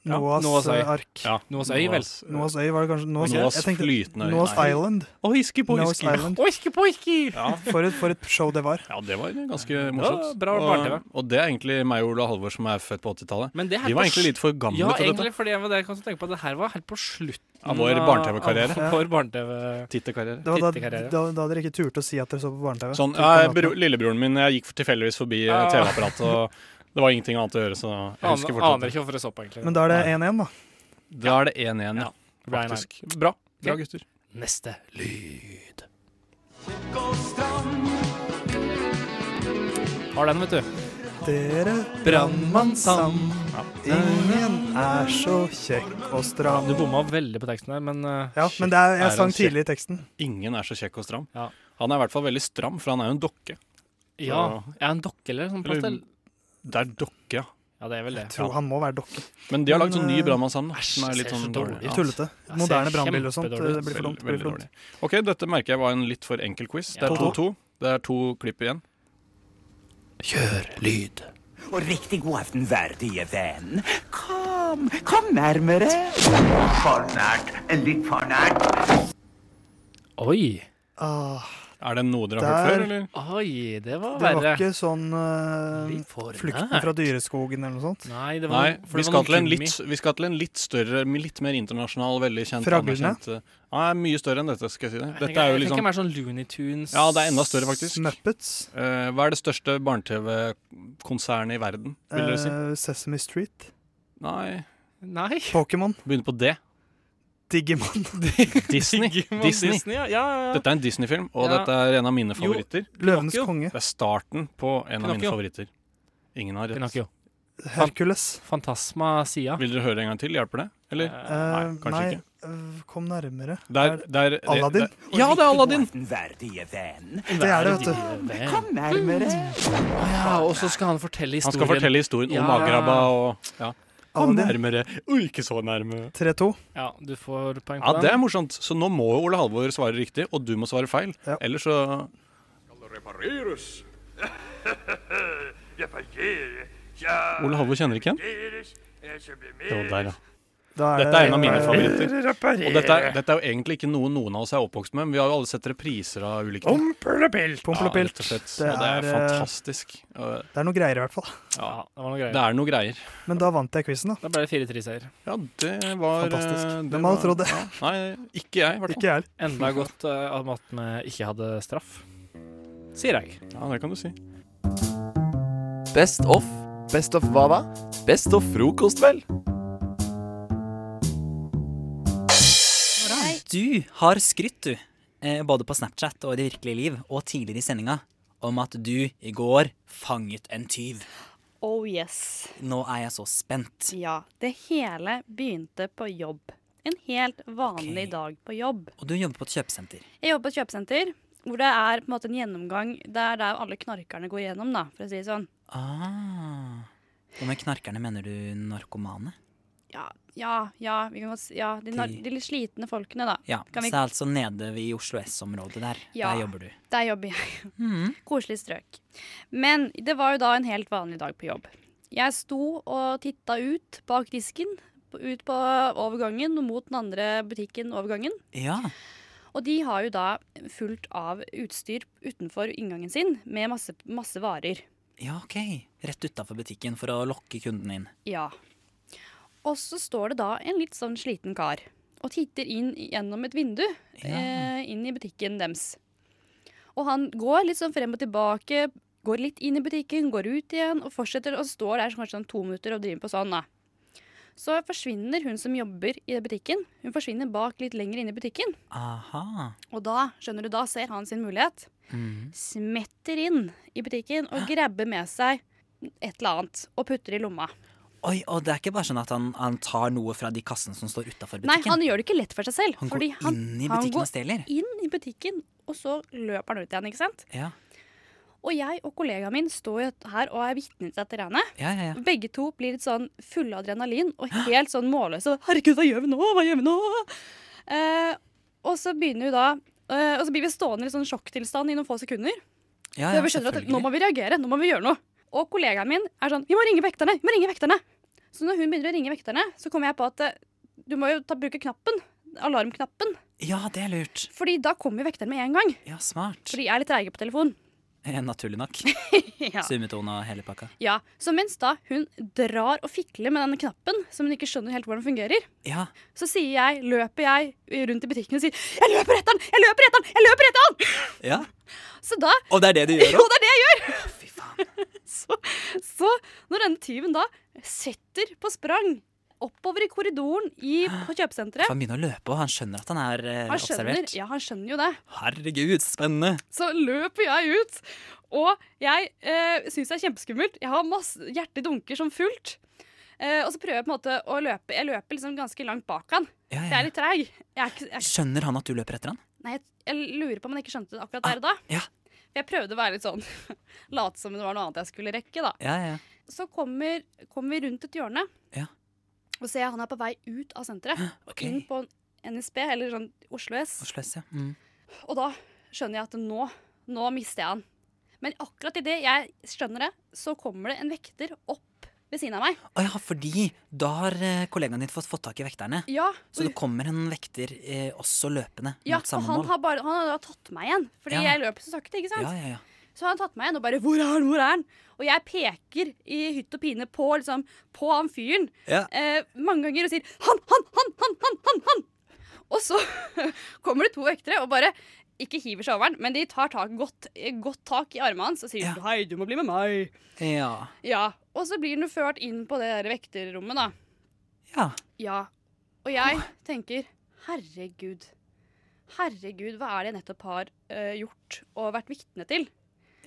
S4: Ja,
S5: Noahs,
S4: Noahs øy.
S5: eh, ark.
S4: Ja, Noahs øy, vel? Noahs-
S5: Noahs øy var det kanskje. Noahs,
S4: Noahs
S5: jeg tenkte-
S4: flytende øy.
S5: Noahs
S4: Nei.
S5: Island.
S4: Oiski poiski.
S5: Noahs Island.
S18: Oiski poiski!
S4: Ja.
S5: For, et, for et show det var.
S4: Ja, det var ganske morsomt.
S5: Ja, bra barne-TV.
S4: og, og det er egentlig meg og Ola Halvor som er født på 80-tallet.
S3: Men det er helt
S4: Vi var
S3: på
S4: egentlig
S3: sl-
S4: litt for gamle
S3: ja,
S4: til dette.
S3: egentlig, fordi jeg var det jeg kan tenke på at det her var helt på slutten
S4: Av vår barne-TV-karriere.
S3: av Vår barne-TV
S4: Tittekarriere.
S5: Det var da,
S3: Tittekarriere.
S5: da, da dere ikke turte å si at dere så på barne-TV.
S4: Sånn,
S5: Til
S4: ja, bro,
S5: kameratene.
S4: lillebroren min jeg gikk tilfeldigvis forbi eh,
S5: Ah.
S4: TV-apparatet, og det var ingenting annet å gjøre, så jeg husker
S3: Aner,
S4: fortsatt
S3: aner ikke hvorfor jeg så på, egentlig.
S5: Men da er det 1-1, da.
S4: Da er det 1-1, ja.
S3: Det ble en
S4: Faktisk.
S3: en.
S4: Bra. Bra,
S3: Ok.
S4: gutter.
S3: Neste lyd. Har den, vet du.
S5: Dere
S3: brannmann sam.
S5: Ingen er så kjekk og stram.
S3: Du bomma veldig på teksten her, men eh,
S5: Ja, men det er, jeg
S4: Er
S5: sang
S4: han kjekk?
S5: tidlig i teksten.
S4: Ingen er så kjekk og stram. Han er i hvert fall veldig stram, for han er jo en dokke.
S3: Ja. Er han dokke eller sånn plastell?
S4: Det er dokke, ja.
S3: Ja, det er vel det.
S5: Jeg tror han må være dokke.
S4: Men de har lagd sånn ny
S5: eh,
S4: Brannmann-sand. som er litt
S5: ser så
S4: sånn
S5: dårlig
S4: dårlig.
S5: ut. Tullete.
S4: Ja,
S5: Moderne
S4: ser
S5: brannbiler og sånt, eh, det
S4: kjempedårlig ut.
S5: blir for dumt,
S4: Veldig,
S5: blir for dumt.
S4: veldig dårlig. OK, dette merker jeg var en litt for enkel quiz. Det
S5: Ja.
S4: er 2-2. Det er to klipp igjen.
S20: Kjør lyd. Og riktig god aften, verdige venn. Kom, kom nærmere. For nært. Litt for nært.
S3: Oi.
S4: Er det noe dere har hørt
S5: Ah.
S4: før,
S5: Der,
S4: eller?
S3: Oi, det var
S5: det var
S3: verre.
S5: ikke sånn eh,
S3: for nært.
S5: Flukten fra dyreskogen eller noe sånt.
S3: Nei,
S4: Nei, vi skal, til en litt, vi skal til en litt større, litt mer internasjonal, veldig kjent
S5: Fraglene?
S4: anerkjent, eh, Nei, mye større enn dette, skal jeg si det.
S3: Jeg
S4: Dette er jo
S3: tenker- jeg tenker
S4: liksom
S3: mer sånn Looney Tunes
S4: Ja, det er enda større, faktisk.
S5: Muppets.
S4: Eh, hva er det største barne-TV-konsernet i verden, vil dere si?
S5: Eh, Sesame Street.
S4: Nei.
S3: Nei.
S5: Pokémon.
S4: Begynner på D.
S5: Digimon.
S4: Disney.
S5: Digimon,
S4: Disney.
S5: Disney, ja, ja, ja.
S4: Dette er en Disney-film, og
S5: Ja.
S4: dette er en av mine
S5: Jo,
S4: favoritter.
S5: Løvenes Pinocchio. konge.
S4: Det er starten på en av mine
S5: Pinocchio.
S4: favoritter. Ingen har rett.
S3: Pinocchio.
S5: Hercules.
S3: Fantasma Sia.
S4: Vil dere høre en gang til? Hjelper det? Eller? nei,
S5: Eh,
S4: kanskje
S5: nei,
S4: ikke.
S5: eh, kom nærmere.
S4: Der, der,
S5: Aladdin?
S4: der- ja, det er Aladdin!
S20: Verdige venn.
S5: Det er det, vet du.
S20: Kom, kom nærmere.
S3: Mm. Ja, og så skal han fortelle
S4: Han skal
S3: historien.
S4: fortelle historien om Agraba og ja. Kom nærmere. Oi, ikke så nærme.
S5: 3-2.
S3: Ja, du får poeng
S4: Ja,
S3: på den.
S4: det er morsomt. Så nå må jo Ole Halvor svare riktig, og du må svare feil. Ellers så
S20: Repareres. Reparere. Ja.
S4: Ole Halvor kjenner ikke igjen?
S20: Repareres. Jeg skal bli med.
S4: Jo, der, ja.
S5: Da er
S4: dette er en av
S5: det-
S4: mine
S5: eh,
S4: favoritter.
S20: reparere.
S4: Og dette er, dette er jo egentlig ikke noe noen av oss er oppvokst med, men vi har jo alle sett repriser av ulike ting.
S5: Pompelopelt. Pompelopelt.
S4: Ja, rett og slett.
S5: Det
S4: Og det er
S5: er, eh,
S4: fantastisk. Og-
S5: Det er noe greier, i hvert fall.
S4: Ja,
S3: det var noe greier.
S4: Det er noe greier.
S5: Men da vant jeg quizen, da.
S3: Da ble det 4-3-seier.
S4: Ja, det var
S5: Fantastisk.
S4: eh, det
S5: Hvem hadde
S4: var-
S5: trodd det?
S4: Ja. Nei, ikke jeg, i hvert fall.
S5: Ikke jeg heller.
S3: Enda godt eh, at vi ikke hadde straff, sier jeg.
S4: Ja, det kan du si.
S1: Best of.
S14: Best of hva da?
S1: Best of frokost, vel?
S2: Du har skrytt, du, eh, både på Snapchat og i det virkelige liv, og tidligere i sendinga, om at du i går fanget en tyv.
S6: Oh yes.
S2: Nå er jeg så spent.
S6: Ja. Det hele begynte på jobb. En helt vanlig dag på jobb.
S2: Og du jobber på et kjøpesenter.
S6: Jeg jobber på et kjøpesenter hvor det er på en måte en gjennomgang. Det er der alle knarkerne går gjennom, da, for å si det sånn.
S2: Ah. Og med knarkerne mener du narkomane?
S6: Ja, ja, ja, vi kan godt si, ja de, nar-
S2: De-
S6: de litt slitne folkene, da.
S2: Ja,
S6: Kan vi-
S2: Så det er altså nede ved i Oslo S-området der.
S6: Ja.
S2: Der jobber du. Mm.
S6: Der jobber jeg. Koselig strøk. Men det var jo da en helt vanlig dag på jobb. Jeg sto og titta ut bak disken, på- ut på overgangen og mot den andre butikken overgangen.
S2: Ja.
S6: Og de har jo da fullt av utstyr utenfor inngangen sin med masse, masse varer.
S2: Ja, OK. Rett utafor butikken for å lokke kunden inn.
S6: Ja. Og så står det da en litt sånn sliten kar og titter inn gjennom et vindu eh, inn i butikken deres. Og han går litt sånn frem og tilbake, går litt inn i butikken, går ut igjen og fortsetter og står der kanskje sånn to minutter og driver på sånn. da. Så forsvinner hun som jobber i butikken. Hun forsvinner bak litt lenger inn i butikken.
S2: Aha.
S6: Og da skjønner du, da ser han sin mulighet.
S2: Mhm.
S6: Smetter inn i butikken og grabber med seg et eller annet og putter i lomma.
S2: Oi, og det er ikke bare sånn at han, han tar noe fra de kassene som står utafor
S6: Nei,
S2: butikken?
S6: han gjør det ikke lett for seg selv.
S2: Han går
S6: fordi
S2: inn i
S6: han
S2: butikken
S6: går
S2: og stjeler.
S6: Inn i butikken, og så løper han ut igjen, ikke sant.
S2: Ja,
S6: Og jeg og kollegaen min står jo her og er vitne til dette regnet.
S2: ja, ja. ja.
S6: Begge to blir litt sånn fulle av adrenalin og helt sånn målløse. Og, Herregud, hva gjør vi nå? Hva gjør vi nå? Eh, og så begynner vi da eh, Og så blir vi stående i litt sånn sjokktilstand i noen få sekunder.
S2: Ja,
S6: Før
S2: ja,
S6: vi skjønner at
S2: selvfølgelig.
S6: nå må vi reagere, nå må vi gjøre noe. Og kollegaen min er sånn Vi må ringe vekterne! Vi må ringe vekterne! Så når hun begynner å ringe vekterne, så kommer jeg på at eh, du må jo ta, bruke knappen. Alarmknappen.
S2: ja, det er lurt.
S6: Fordi da kommer jo vekterne med en gang.
S2: Ja, smart.
S6: Fordi jeg er litt treige på telefon.
S2: Eh, Naturlig nok.
S6: ja.
S2: Summetone og hele pakka.
S6: Ja, Så mens da hun drar og fikler med denne knappen, som hun ikke skjønner helt hvordan fungerer,
S2: Ja.
S6: så sier jeg, løper jeg rundt i butikken og sier 'Jeg løper etter han! Jeg løper etter han! Jeg løper etter han!'
S2: ja.
S6: Så da
S2: Og det er det du gjør
S6: Jo,
S2: òg?
S6: det er det jeg gjør! så, så når denne tyven da setter på sprang oppover i korridoren i, på kjøpesenteret
S2: Han begynner å løpe, og han skjønner at han er eh,
S6: han skjønner,
S2: observert.
S6: ja, han skjønner jo det.
S2: Herregud, spennende.
S6: Så løper jeg ut, og jeg eh, syns det er kjempeskummelt. Jeg har masse, hjertet dunker som fullt. Eh, og så prøver jeg på en måte å løpe. Jeg løper liksom ganske langt bak han.
S2: Ja, ja,
S6: Jeg er litt treig. Jeg er ikke, jeg,
S2: Skjønner han at du løper etter han?
S6: Nei, jeg, jeg lurer på om han ikke skjønte det akkurat der og da.
S2: Ah, ja.
S6: Jeg prøvde å være litt sånn late som det var noe annet jeg skulle rekke, da.
S2: Ja, ja, ja.
S6: Så kommer, kommer vi rundt et hjørne,
S2: Ja. Ah,
S6: og ser jeg han er på vei ut av senteret.
S2: ok.
S6: Inn på NSB, eller sånn Oslo S.
S2: Oslo S, ja. Mm.
S6: Og da skjønner jeg at nå, nå mister jeg han. Men akkurat idet jeg skjønner det, så kommer det en vekter opp ved siden av meg.
S2: Å ja, fordi da har eh, kollegaen din fått, fått tak i vekterne.
S6: Ja,
S2: Så det kommer en vekter eh, også løpende
S6: ja
S2: mot
S6: og
S2: samme
S6: han
S2: mål.
S6: har, bare, han har da tatt meg igjen, fordi
S2: Ja.
S6: jeg løper så sakte. ikke sant?
S2: Ja, ja, ja.
S6: Så han har tatt meg igjen og bare 'Hvor er han? Hvor er han?' Og jeg peker i hytt og pine på, liksom, på han fyren
S2: Ja.
S6: eh, mange ganger og sier 'Han, han, han, han, han, han!' han. Og så kommer det to vektere og bare ikke hiver seg over han, men de tar tak, godt, godt tak i armene hans og sier 'Hei, du må bli med meg'.
S2: ja.
S6: Ja, Og så blir han jo ført inn på det der vekterrommet, da.
S2: Ja.
S6: Ja. Og jeg tenker herregud. Herregud, hva er det jeg nettopp har eh, gjort og vært vitne til?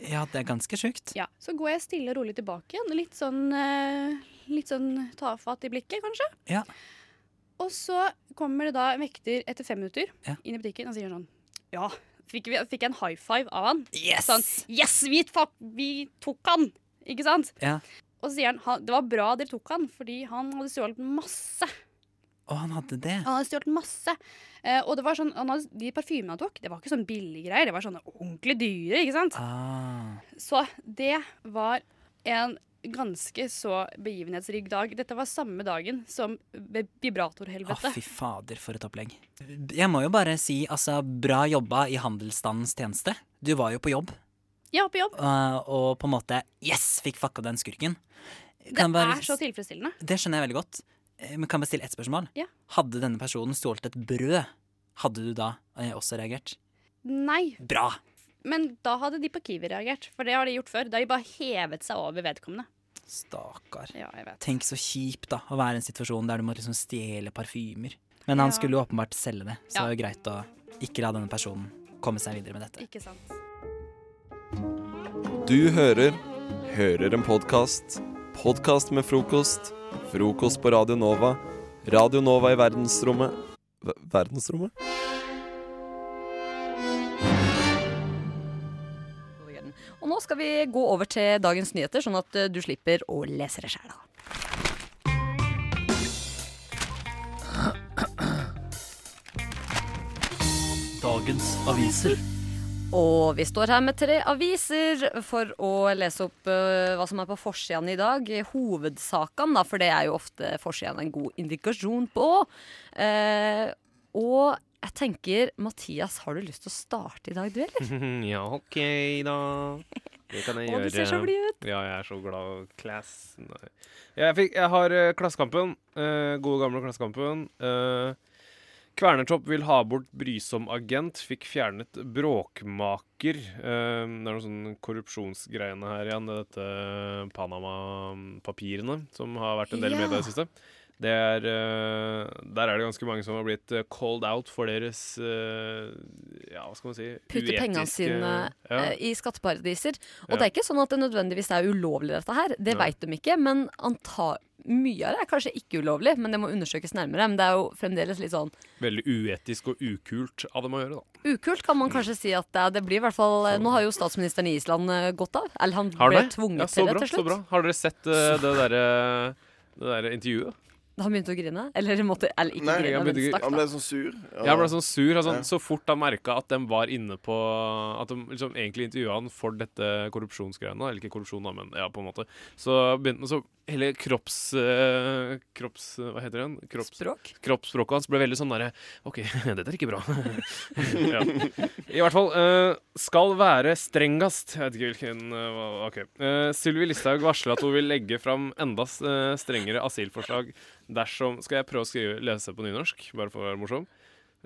S2: Ja, det er ganske sjukt.
S6: Ja, Så går jeg stille og rolig tilbake igjen. Litt sånn, eh, litt sånn tafatt i blikket, kanskje.
S2: Ja.
S6: Og så kommer det da en vekter etter fem minutter
S2: Ja.
S6: inn i butikken og sier sånn Ja, fikk, vi, fikk jeg en high five av han?
S2: Yes!
S6: Sånn, yes, vi, fuck, vi tok han! Ikke sant?
S2: Ja.
S6: Og så sier han «Han- det var bra dere tok han, fordi han hadde stjålet masse.
S2: Og han hadde det.
S6: Han hadde stjålet masse. Eh, og det var sånn, han hadde, de parfymene han tok, det var ikke sånn billige greier. Det var sånne ordentlig dyre, ikke sant?
S2: Ah.
S6: Så det var en ganske så begivenhetsrik dag. Dette var samme dagen som vi-
S2: Å,
S6: vibratorhelvete.
S2: fy fader, for et opplegg. Jeg må jo bare si altså, bra jobba i handelsstandens tjeneste. Du var jo på jobb,
S6: ja, på jobb.
S2: eh, og på en måte yes, fikk fucka den skurken.
S6: Det
S2: Kan jeg bare
S6: er så tilfredsstillende.
S2: Det skjønner jeg veldig godt. Eh, Men kan jeg bare stille ett spørsmål?
S6: Ja.
S2: Hadde denne personen stjålet et brød, hadde du da eh, også reagert?
S6: Nei.
S2: Bra!
S6: Men da hadde de på Kiwi reagert, for det har de gjort før. Da har de bare hevet seg over vedkommende.
S2: Stakkar.
S6: Ja, jeg vet.
S2: Tenk så kjipt da, å være i en situasjon der du må liksom stjele parfymer. Men han
S6: Ja.
S2: skulle jo åpenbart selge det, så
S6: Ja.
S2: det er jo greit å ikke la denne personen komme seg videre med dette.
S6: Ikke sant.
S1: Du hører Hører en podkast. Podkast med frokost. Frokost på Radio Nova. Radio Nova i verdensrommet Ver- Verdensrommet?
S9: Og nå skal vi gå over til dagens nyheter, sånn at eh, du slipper å lese det sjæl.
S5: Dagens aviser.
S9: Og vi står her med tre aviser for å lese opp eh, hva som er på forsiden i dag. Hovedsakene, da, for det er jo ofte forsiden en god indikasjon på. Eh, og jeg tenker, Mathias, har du lyst til å starte i dag, du, eller?
S8: ja, OK, da. Det kan jeg
S9: Å,
S8: gjøre.
S9: du ser så blid ut.
S8: Ja, jeg er så glad. Class. Nei. Ja, jeg, fikk, jeg har eh, Klassekampen. eh, gode, gamle Klassekampen. Eh, Kvernertopp vil ha bort brysom agent. Fikk fjernet bråkmaker. Eh, det er noe sånn korrupsjonsgreiene her igjen. det er Dette eh, Panama-papirene som har vært en del med
S17: Ja.
S8: i det siste. Det er, eh, der er det ganske mange som har blitt eh, called out for deres eh, Ja, hva skal man si
S9: Putte pengene
S8: uetiske-
S9: sine
S8: ja.
S9: eh, i skatteparadiser. Og
S8: Ja.
S9: det er ikke sånn at det nødvendigvis er ulovlig, dette her. Det
S8: Nei.
S9: veit de ikke. Men anta mye av det er kanskje ikke ulovlig, men det må undersøkes nærmere. Men det er jo fremdeles litt sånn
S8: Veldig uetisk og ukult av dem å gjøre, da.
S9: ukult, kan man kanskje si at det, er. det blir. I hvert fall eh, Nå har jo statsministeren i Island eh, gått av. Eller han
S8: Har
S9: ble
S8: dere?
S9: tvunget
S8: Ja, så
S9: til det
S8: bra,
S9: til slutt.
S8: Så bra. Har dere sett eh, det derre det der intervjuet?
S9: Han begynte å grine? Eller, måtte, eller ikke
S8: jeg
S9: grine, men
S8: begynte ikke-
S9: stakk,
S10: Han
S9: da.
S10: ble sånn sur.
S8: Ja, han ble sånn sur. Altså,
S10: Ja.
S8: Så fort han merka at de var inne på At de liksom egentlig intervjua han for dette korrupsjonsgreiene, eller ikke korrupsjon, da, men ja, på en måte, så begynte han så Hele kropps... eh, kropps... Hva heter det? igjen? Kropps,
S9: Språk?
S8: Kroppsspråket hans ble veldig sånn derre OK, dette er ikke bra. ja. I hvert fall eh, skal være strengast. Jeg vet ikke hvilken eh, hva- OK. Eh, Sylvi Listhaug varsler at hun vil legge fram enda s- eh, strengere asylforslag dersom Skal jeg prøve å skrive, lese på nynorsk, bare for å være morsom?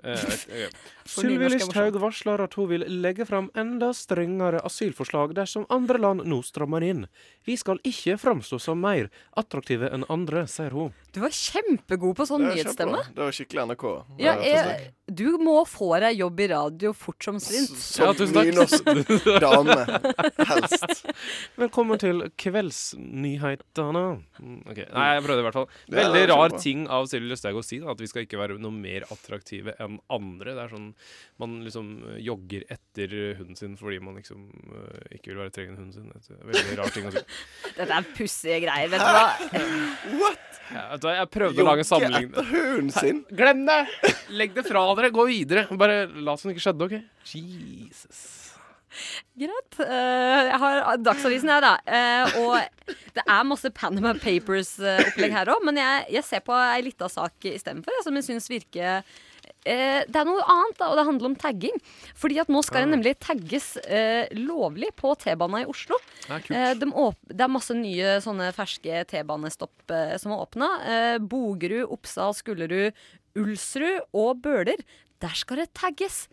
S8: Eh, ok.
S18: Sylvi Listhaug varsler at hun vil legge fram enda strengere asylforslag dersom andre land nå strammer inn. Vi skal ikke framstå som mer attraktive enn andre, sier hun.
S9: Du var kjempegod på sånn nyhetsstemme.
S10: Det var skikkelig NRK.
S9: Ja, jeg, du må få deg jobb i radio fort som svint.
S10: Som nynorsk dame, helst.
S18: Velkommen til kveldsnyhetene. Mm, ok.
S8: Nei, jeg prøvde i hvert fall.
S18: Ja,
S8: Veldig
S18: det er
S8: rar
S18: kjempebra.
S8: ting av Sylvi Listhaug å si, da, at vi skal ikke være noe mer attraktive enn andre. Det er sånn man liksom eh, jogger etter eh, hunden sin fordi man liksom eh, ikke vil være trengende enn hunden sin. Det er Veldig rar ting å si.
S9: Dette er pussige greier, vet du hva.
S8: Ja, vet du hva, jeg prøvde å lage en sammenligning.
S10: Jogge etter hunden sin?
S8: Hæ, Glem det! Legg det fra dere, gå videre. Bare la som det ikke skjedde, OK? Jesus.
S9: Greit. Eh, jeg har Dagsavisen her, da. Eh, og det er masse Panama Papers-opplegg her òg, men jeg, jeg ser på ei lita sak istedenfor, jeg, som jeg syns virker eh, det er noe annet, da, og det handler om tagging. Fordi at nå skal det nemlig tagges eh, lovlig på T-bana i Oslo.
S8: Det er kult.
S9: Eh, de åp det er masse nye sånne ferske T-banestopp eh, som er åpna. Eh, Bogerud, Oppsal, Skullerud, Ulsrud og Bøler. Der skal det tagges!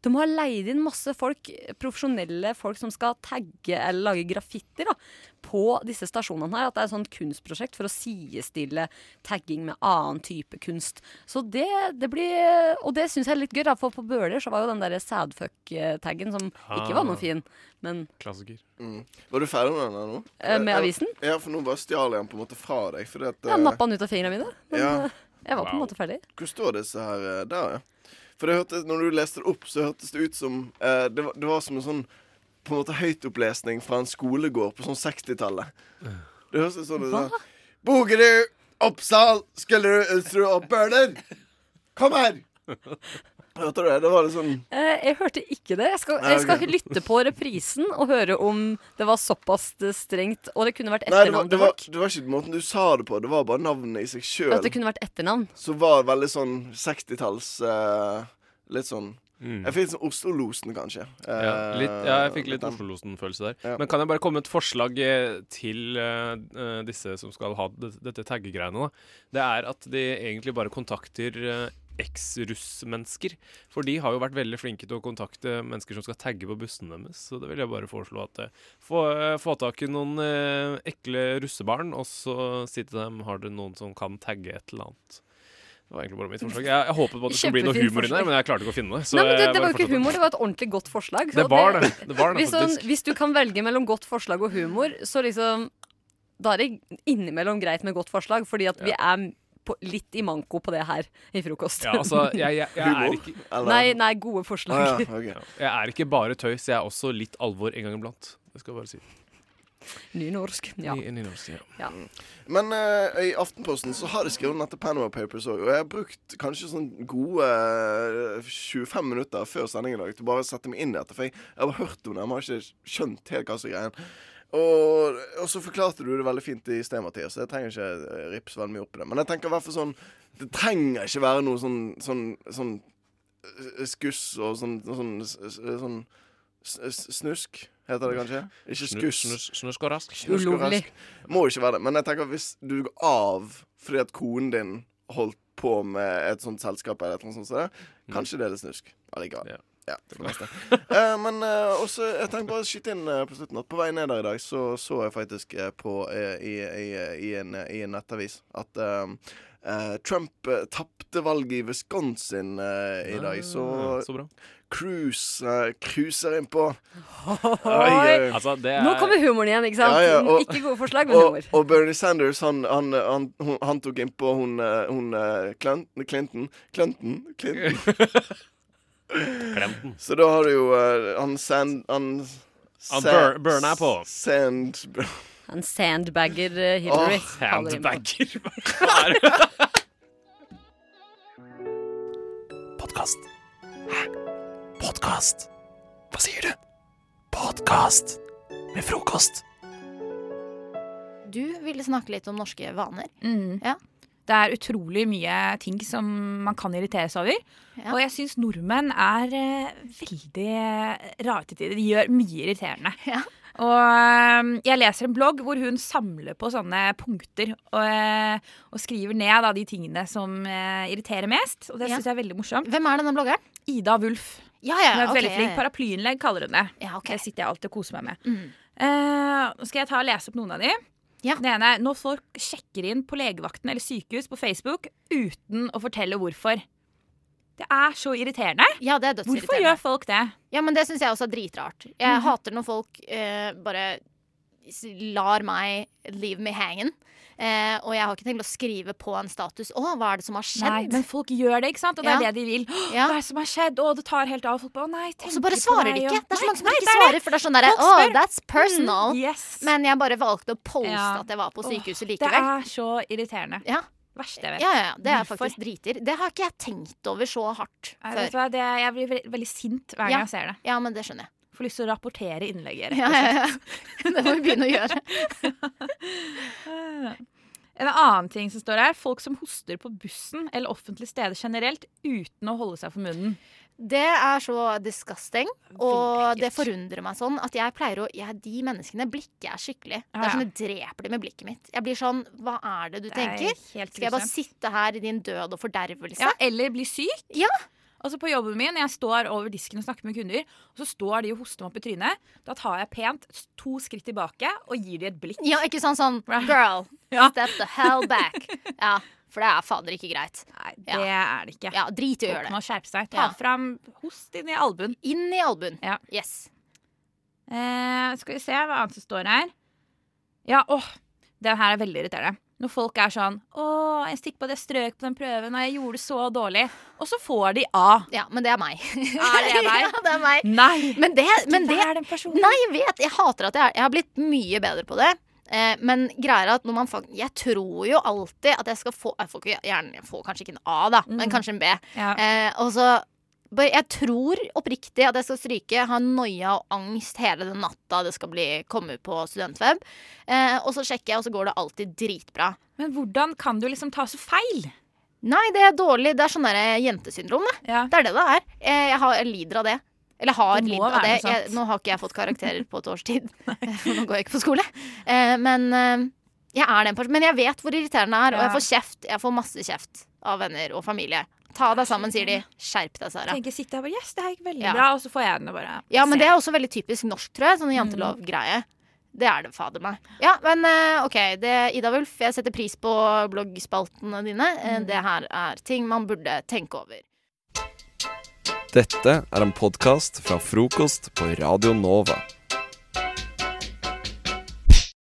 S9: De har leid inn masse folk, profesjonelle folk som skal tagge eller lage graffiti da, på disse stasjonene her. At det er et sånt kunstprosjekt for å sidestille tagging med annen type kunst. Så det, det blir Og det syns jeg er litt gøy, da, for på Bøler så var jo den derre sadfuck-taggen som ikke var
S10: Ah.
S9: noe fin, men
S8: Klassiker.
S10: Mm. Var du ferdig med den her nå?
S9: Eh, med
S10: Jeg-
S9: avisen?
S10: Ja, for nå bare stjal jeg den på en måte fra deg. Fordi at,
S9: Jeg
S10: eh,
S9: nappa den ut av fingrene mine. Men
S10: Ja.
S9: eh, jeg var på en
S10: Wow.
S9: måte ferdig.
S10: Hvor står disse her eh, der, ja? For det hørtes, når du leste det opp, så hørtes det ut som eh, det, var, det var som en sånn På en måte høytopplesning fra en skolegård på sånn 60-tallet. Det hørtes sånn ut. sånn, Bogerud, Oppsal, Skullerud, Ulsrud og Bøler! Kom her! Hørte du det? Det var litt sånn
S9: Eh, jeg hørte ikke det. Jeg skal,
S10: Nei,
S9: jeg skal
S10: ok.
S9: lytte på reprisen og høre om det var såpass eh, strengt. Og det kunne vært
S10: Nei, det var,
S9: etternavn
S10: det,
S9: til
S10: var,
S9: folk.
S10: det var ikke måten du sa det på, det var bare navnet i seg sjøl.
S9: At det kunne vært etternavn.
S10: Som var veldig sånn 60-talls eh, Litt sånn
S8: Mm.
S10: Jeg fikk sånn Oslo-losen, kanskje.
S8: Ja,
S10: Eh,
S8: litt, ja, jeg fikk litt
S10: den.
S8: Oslo-losen-følelse der.
S10: Ja.
S8: Men kan jeg bare komme med et forslag eh, til eh, eh, disse som skal ha det, dette taggegreiene? Da? Det er at de egentlig bare kontakter eh, eks-russ-mennesker. For de har jo vært veldig flinke til å kontakte mennesker som skal tagge på bussen deres. Så det vil jeg bare foreslå at eh, få, eh, få tak i noen eh, ekle russebarn, og så si til dem har dere noen som kan tagge et eller annet. Det var egentlig bare mitt forslag. Jeg, jeg håpet på at det skulle bli noe
S9: Kjempefint
S8: humor inni
S9: forslag.
S8: der, men jeg klarte ikke å finne det. så
S9: Nei, men
S8: jeg
S9: det, det var
S8: bare
S9: jo ikke
S8: fortsatte.
S9: humor, det var et ordentlig godt forslag.
S8: Det
S9: så
S8: var det. Det var det,
S9: hvis, sånn,
S8: faktisk.
S9: hvis du kan velge mellom godt forslag og humor, så liksom Da er det innimellom greit med godt forslag, fordi at vi er på, litt i manko på det her i frokost.
S8: Ja, altså, jeg, jeg, jeg er ikke
S9: Nei, nei, gode forslag.
S8: Jeg er ikke bare tøys, jeg er også litt alvor en gang iblant. Det skal jeg bare si.
S9: Nynorsk. Ja.
S8: Ny- nynorsk, ja.
S9: ja.
S10: Men eh, i Aftenposten så har de skrevet om dette Panama Papers òg, og jeg har brukt kanskje sånn gode eh, 25 minutter før sending i dag til bare å sette meg inn i dette, for jeg, jeg har bare hørt om det, jeg har ikke skjønt helt hva som er greien. Og, og så forklarte du det veldig fint i sted, Mathias, så jeg trenger ikke eh, rips veldig mye opp i det. Men jeg tenker i hvert fall sånn Det trenger ikke være noe sånn, sånn, sånn eh, skuss og sånn, sånn, sånn, sånn snusk, heter det kanskje? Ikke
S8: Snu-
S10: skuss.
S8: snus- Snusk og rask.
S10: Snusk og rask. Må jo ikke være det. Men jeg tenker at hvis du går av fordi at konen
S8: Mm.
S10: din holdt på med et sånt selskap, eller et eller annet sånt, som det, kanskje det er litt snusk. Allikevel. Ja, det var det. Eh, men eh, også, jeg tenkte bare å skyte inn eh, på slutten at på vei ned der i dag så så jeg faktisk eh, på eh, i, i, i, en, i en nettavis at eh, eh, Trump uh, tapte valget i Wisconsin eh, i dag, så,
S8: Ah, så bra.
S10: Cruise eh, cruiser innpå.
S8: Altså, det
S9: Nå kommer humoren igjen, ikke sant?
S10: Ja, ja, og-
S9: ikke gode forslag, men
S10: og,
S9: humor.
S10: og Bernie Sanders, han, han, han, hun, han tok innpå hun, eh, hun eh, Clin- Clinton Clinton? Clinton.
S8: Clinton.
S10: Så da har du jo eh, han Sand... Han,
S8: Han bur- burna på.
S10: Sand...
S9: Han sandbagger eh, Hillary.
S10: Åh,
S9: faller inn på.
S1: Podkast. Hæ? Podkast? Hva sier du? Podkast med frokost.
S11: Du ville snakke litt om norske vaner.
S12: Mm. Det er utrolig mye ting som man kan irritere seg over. Og jeg syns nordmenn er eh, veldig rare til tider. De gjør mye irriterende. Og eh, jeg leser en blogg hvor hun samler på sånne punkter og, eh, og skriver ned da, de tingene som eh, irriterer mest. Og det
S11: Ja.
S12: syns jeg er veldig morsomt.
S11: Hvem er denne bloggeren?
S12: Ida Wulf.
S11: Ja, ja,
S12: hun er
S11: ok,
S12: veldig
S11: ja,
S12: flink.
S11: ja.
S12: Paraplyinnlegg kaller hun det. Det sitter jeg alltid og koser meg med.
S15: Mm.
S12: Eh, Nå skal jeg ta og lese opp noen av de. Det ene er når folk sjekker inn på legevakten eller sykehus på Facebook uten å fortelle hvorfor. Det er så irriterende.
S11: Ja, det er
S12: Hvorfor
S11: dødsirriterende.
S12: gjør folk det?
S11: Ja, men det syns jeg også er dritrart. Jeg
S12: Mhm.
S11: hater når folk eh, bare s- lar meg leave me hanging. Eh, og jeg har ikke tenkt å skrive på en status 'Å, hva er det som har skjedd?'
S12: Nei, men folk gjør det, ikke sant? Og det
S11: Ja.
S12: er det de vil. «Åh, Hva er det som har skjedd? Å, det tar helt av. Folk bare, å nei, tenker
S11: Og så bare
S12: på
S11: svarer de
S12: meg, og-
S11: ikke. Det er så
S12: Nei,
S11: mange som
S12: nei,
S11: ikke svarer, for det er sånn derre
S12: Folk
S11: Oh,
S12: spør.
S11: that's personal.
S12: Mm,
S11: Men jeg bare valgte å poste
S12: Ja.
S11: at jeg var på
S12: Åh,
S11: sykehuset
S12: Det
S11: likevel.
S12: er så irriterende.
S11: Ja.
S12: Verste jeg
S11: Ja,
S12: vet.
S11: ja, ja. Det er
S12: Hvorfor?
S11: faktisk driter. Det har ikke jeg tenkt over så hardt
S12: Nei,
S11: før.
S12: vet du hva? Det, jeg blir veldig, veldig sint hver gang
S11: Ja.
S12: jeg ser det.
S11: Ja, men det skjønner jeg.
S12: Får lyst til å rapportere innlegget, rett
S11: Ja,
S12: og
S11: ja,
S12: slett.
S11: ja. Det må vi begynne å gjøre.
S12: En annen ting som står her, folk som hoster på bussen eller offentlige steder generelt uten å holde seg for munnen.
S11: Det er så disgusting, og det forundrer meg sånn at jeg pleier å jeg, De menneskene blikker jeg skikkelig. Det
S12: Ja,
S11: er
S12: ja.
S11: som jeg dreper dem med blikket mitt. Jeg blir sånn Hva er det du
S12: Det er
S11: tenker?
S12: helt
S11: Skal jeg bare
S12: grusomt.
S11: sitte her i din død og fordervelse?
S12: Ja, eller bli syk. Altså På jobben min, jeg står over disken og snakker med kunder, og så står de og hoster meg opp i trynet. Da tar jeg pent to skritt tilbake og gir de et blikk.
S11: Ja, ikke sånn sånn Girl, step the hell back. Ja, for det er fader ikke greit.
S12: Nei,
S11: ja.
S12: Det er det ikke.
S11: Ja, drit i å
S12: Folk
S11: gjøre det.
S12: må skjerpe seg. Ta fram host inn i albuen.
S11: Inn i albuen.
S12: Ja.
S11: Yes.
S12: Eh, skal vi se hva annet som står her. Ja, åh, den her er veldig irriterende. Når folk er sånn 'Å, jeg stikk på det strøk på den prøven, og jeg gjorde det så dårlig.' Og så får de A.
S11: Ja, men det er meg.
S12: Er det deg?
S11: ja, det er meg.
S12: Nei!
S11: Men det, men det
S12: Vær den personen.
S11: Nei, jeg vet. Jeg hater at jeg er Jeg har blitt mye bedre på det. Eh, men greia er at når man fak- Jeg tror jo alltid at jeg skal få Jeg får, ikke, gjerne, jeg får kanskje ikke en A, da, men kanskje en B.
S12: Mm. Ja.
S11: Eh, og så bare- jeg tror oppriktig at jeg skal stryke, ha noia og angst hele den natta det skal bli, komme ut på studentweb. Eh, og så sjekker jeg, og så går det alltid dritbra.
S12: Men hvordan kan du liksom ta så feil?
S11: Nei, det er dårlig. Det er sånn derre jentesyndrom, det. Det er det det er. Eh, Jeg, har, jeg lider av det. Eller har
S12: Det må
S11: lidd av
S12: være
S11: det.
S12: noe sånt.
S11: Jeg, nå har ikke jeg fått karakterer på et års tid, for nå går jeg ikke på skole. Eh, Men eh, jeg er den personen. Men jeg vet hvor irriterende det er, og jeg
S12: Ja.
S11: får kjeft. Jeg får masse kjeft av venner og familie. Ta deg sammen, sier de. Skjerp deg, Sara.
S12: Tenker jeg sitter her og bare 'yes, det her gikk veldig
S11: Ja.
S12: bra', og så får jeg den og bare
S11: Ja, men det er også veldig typisk norsk, tror jeg. Sånn
S12: Mm.
S11: jantelov-greie. Det er det, fader meg. Ja, men eh, OK. Det, Ida Wulf, jeg setter pris på bloggspaltene dine. Eh,
S12: Mm.
S11: Det her er ting man burde tenke over.
S1: Dette er en podkast fra frokost på Radio Nova.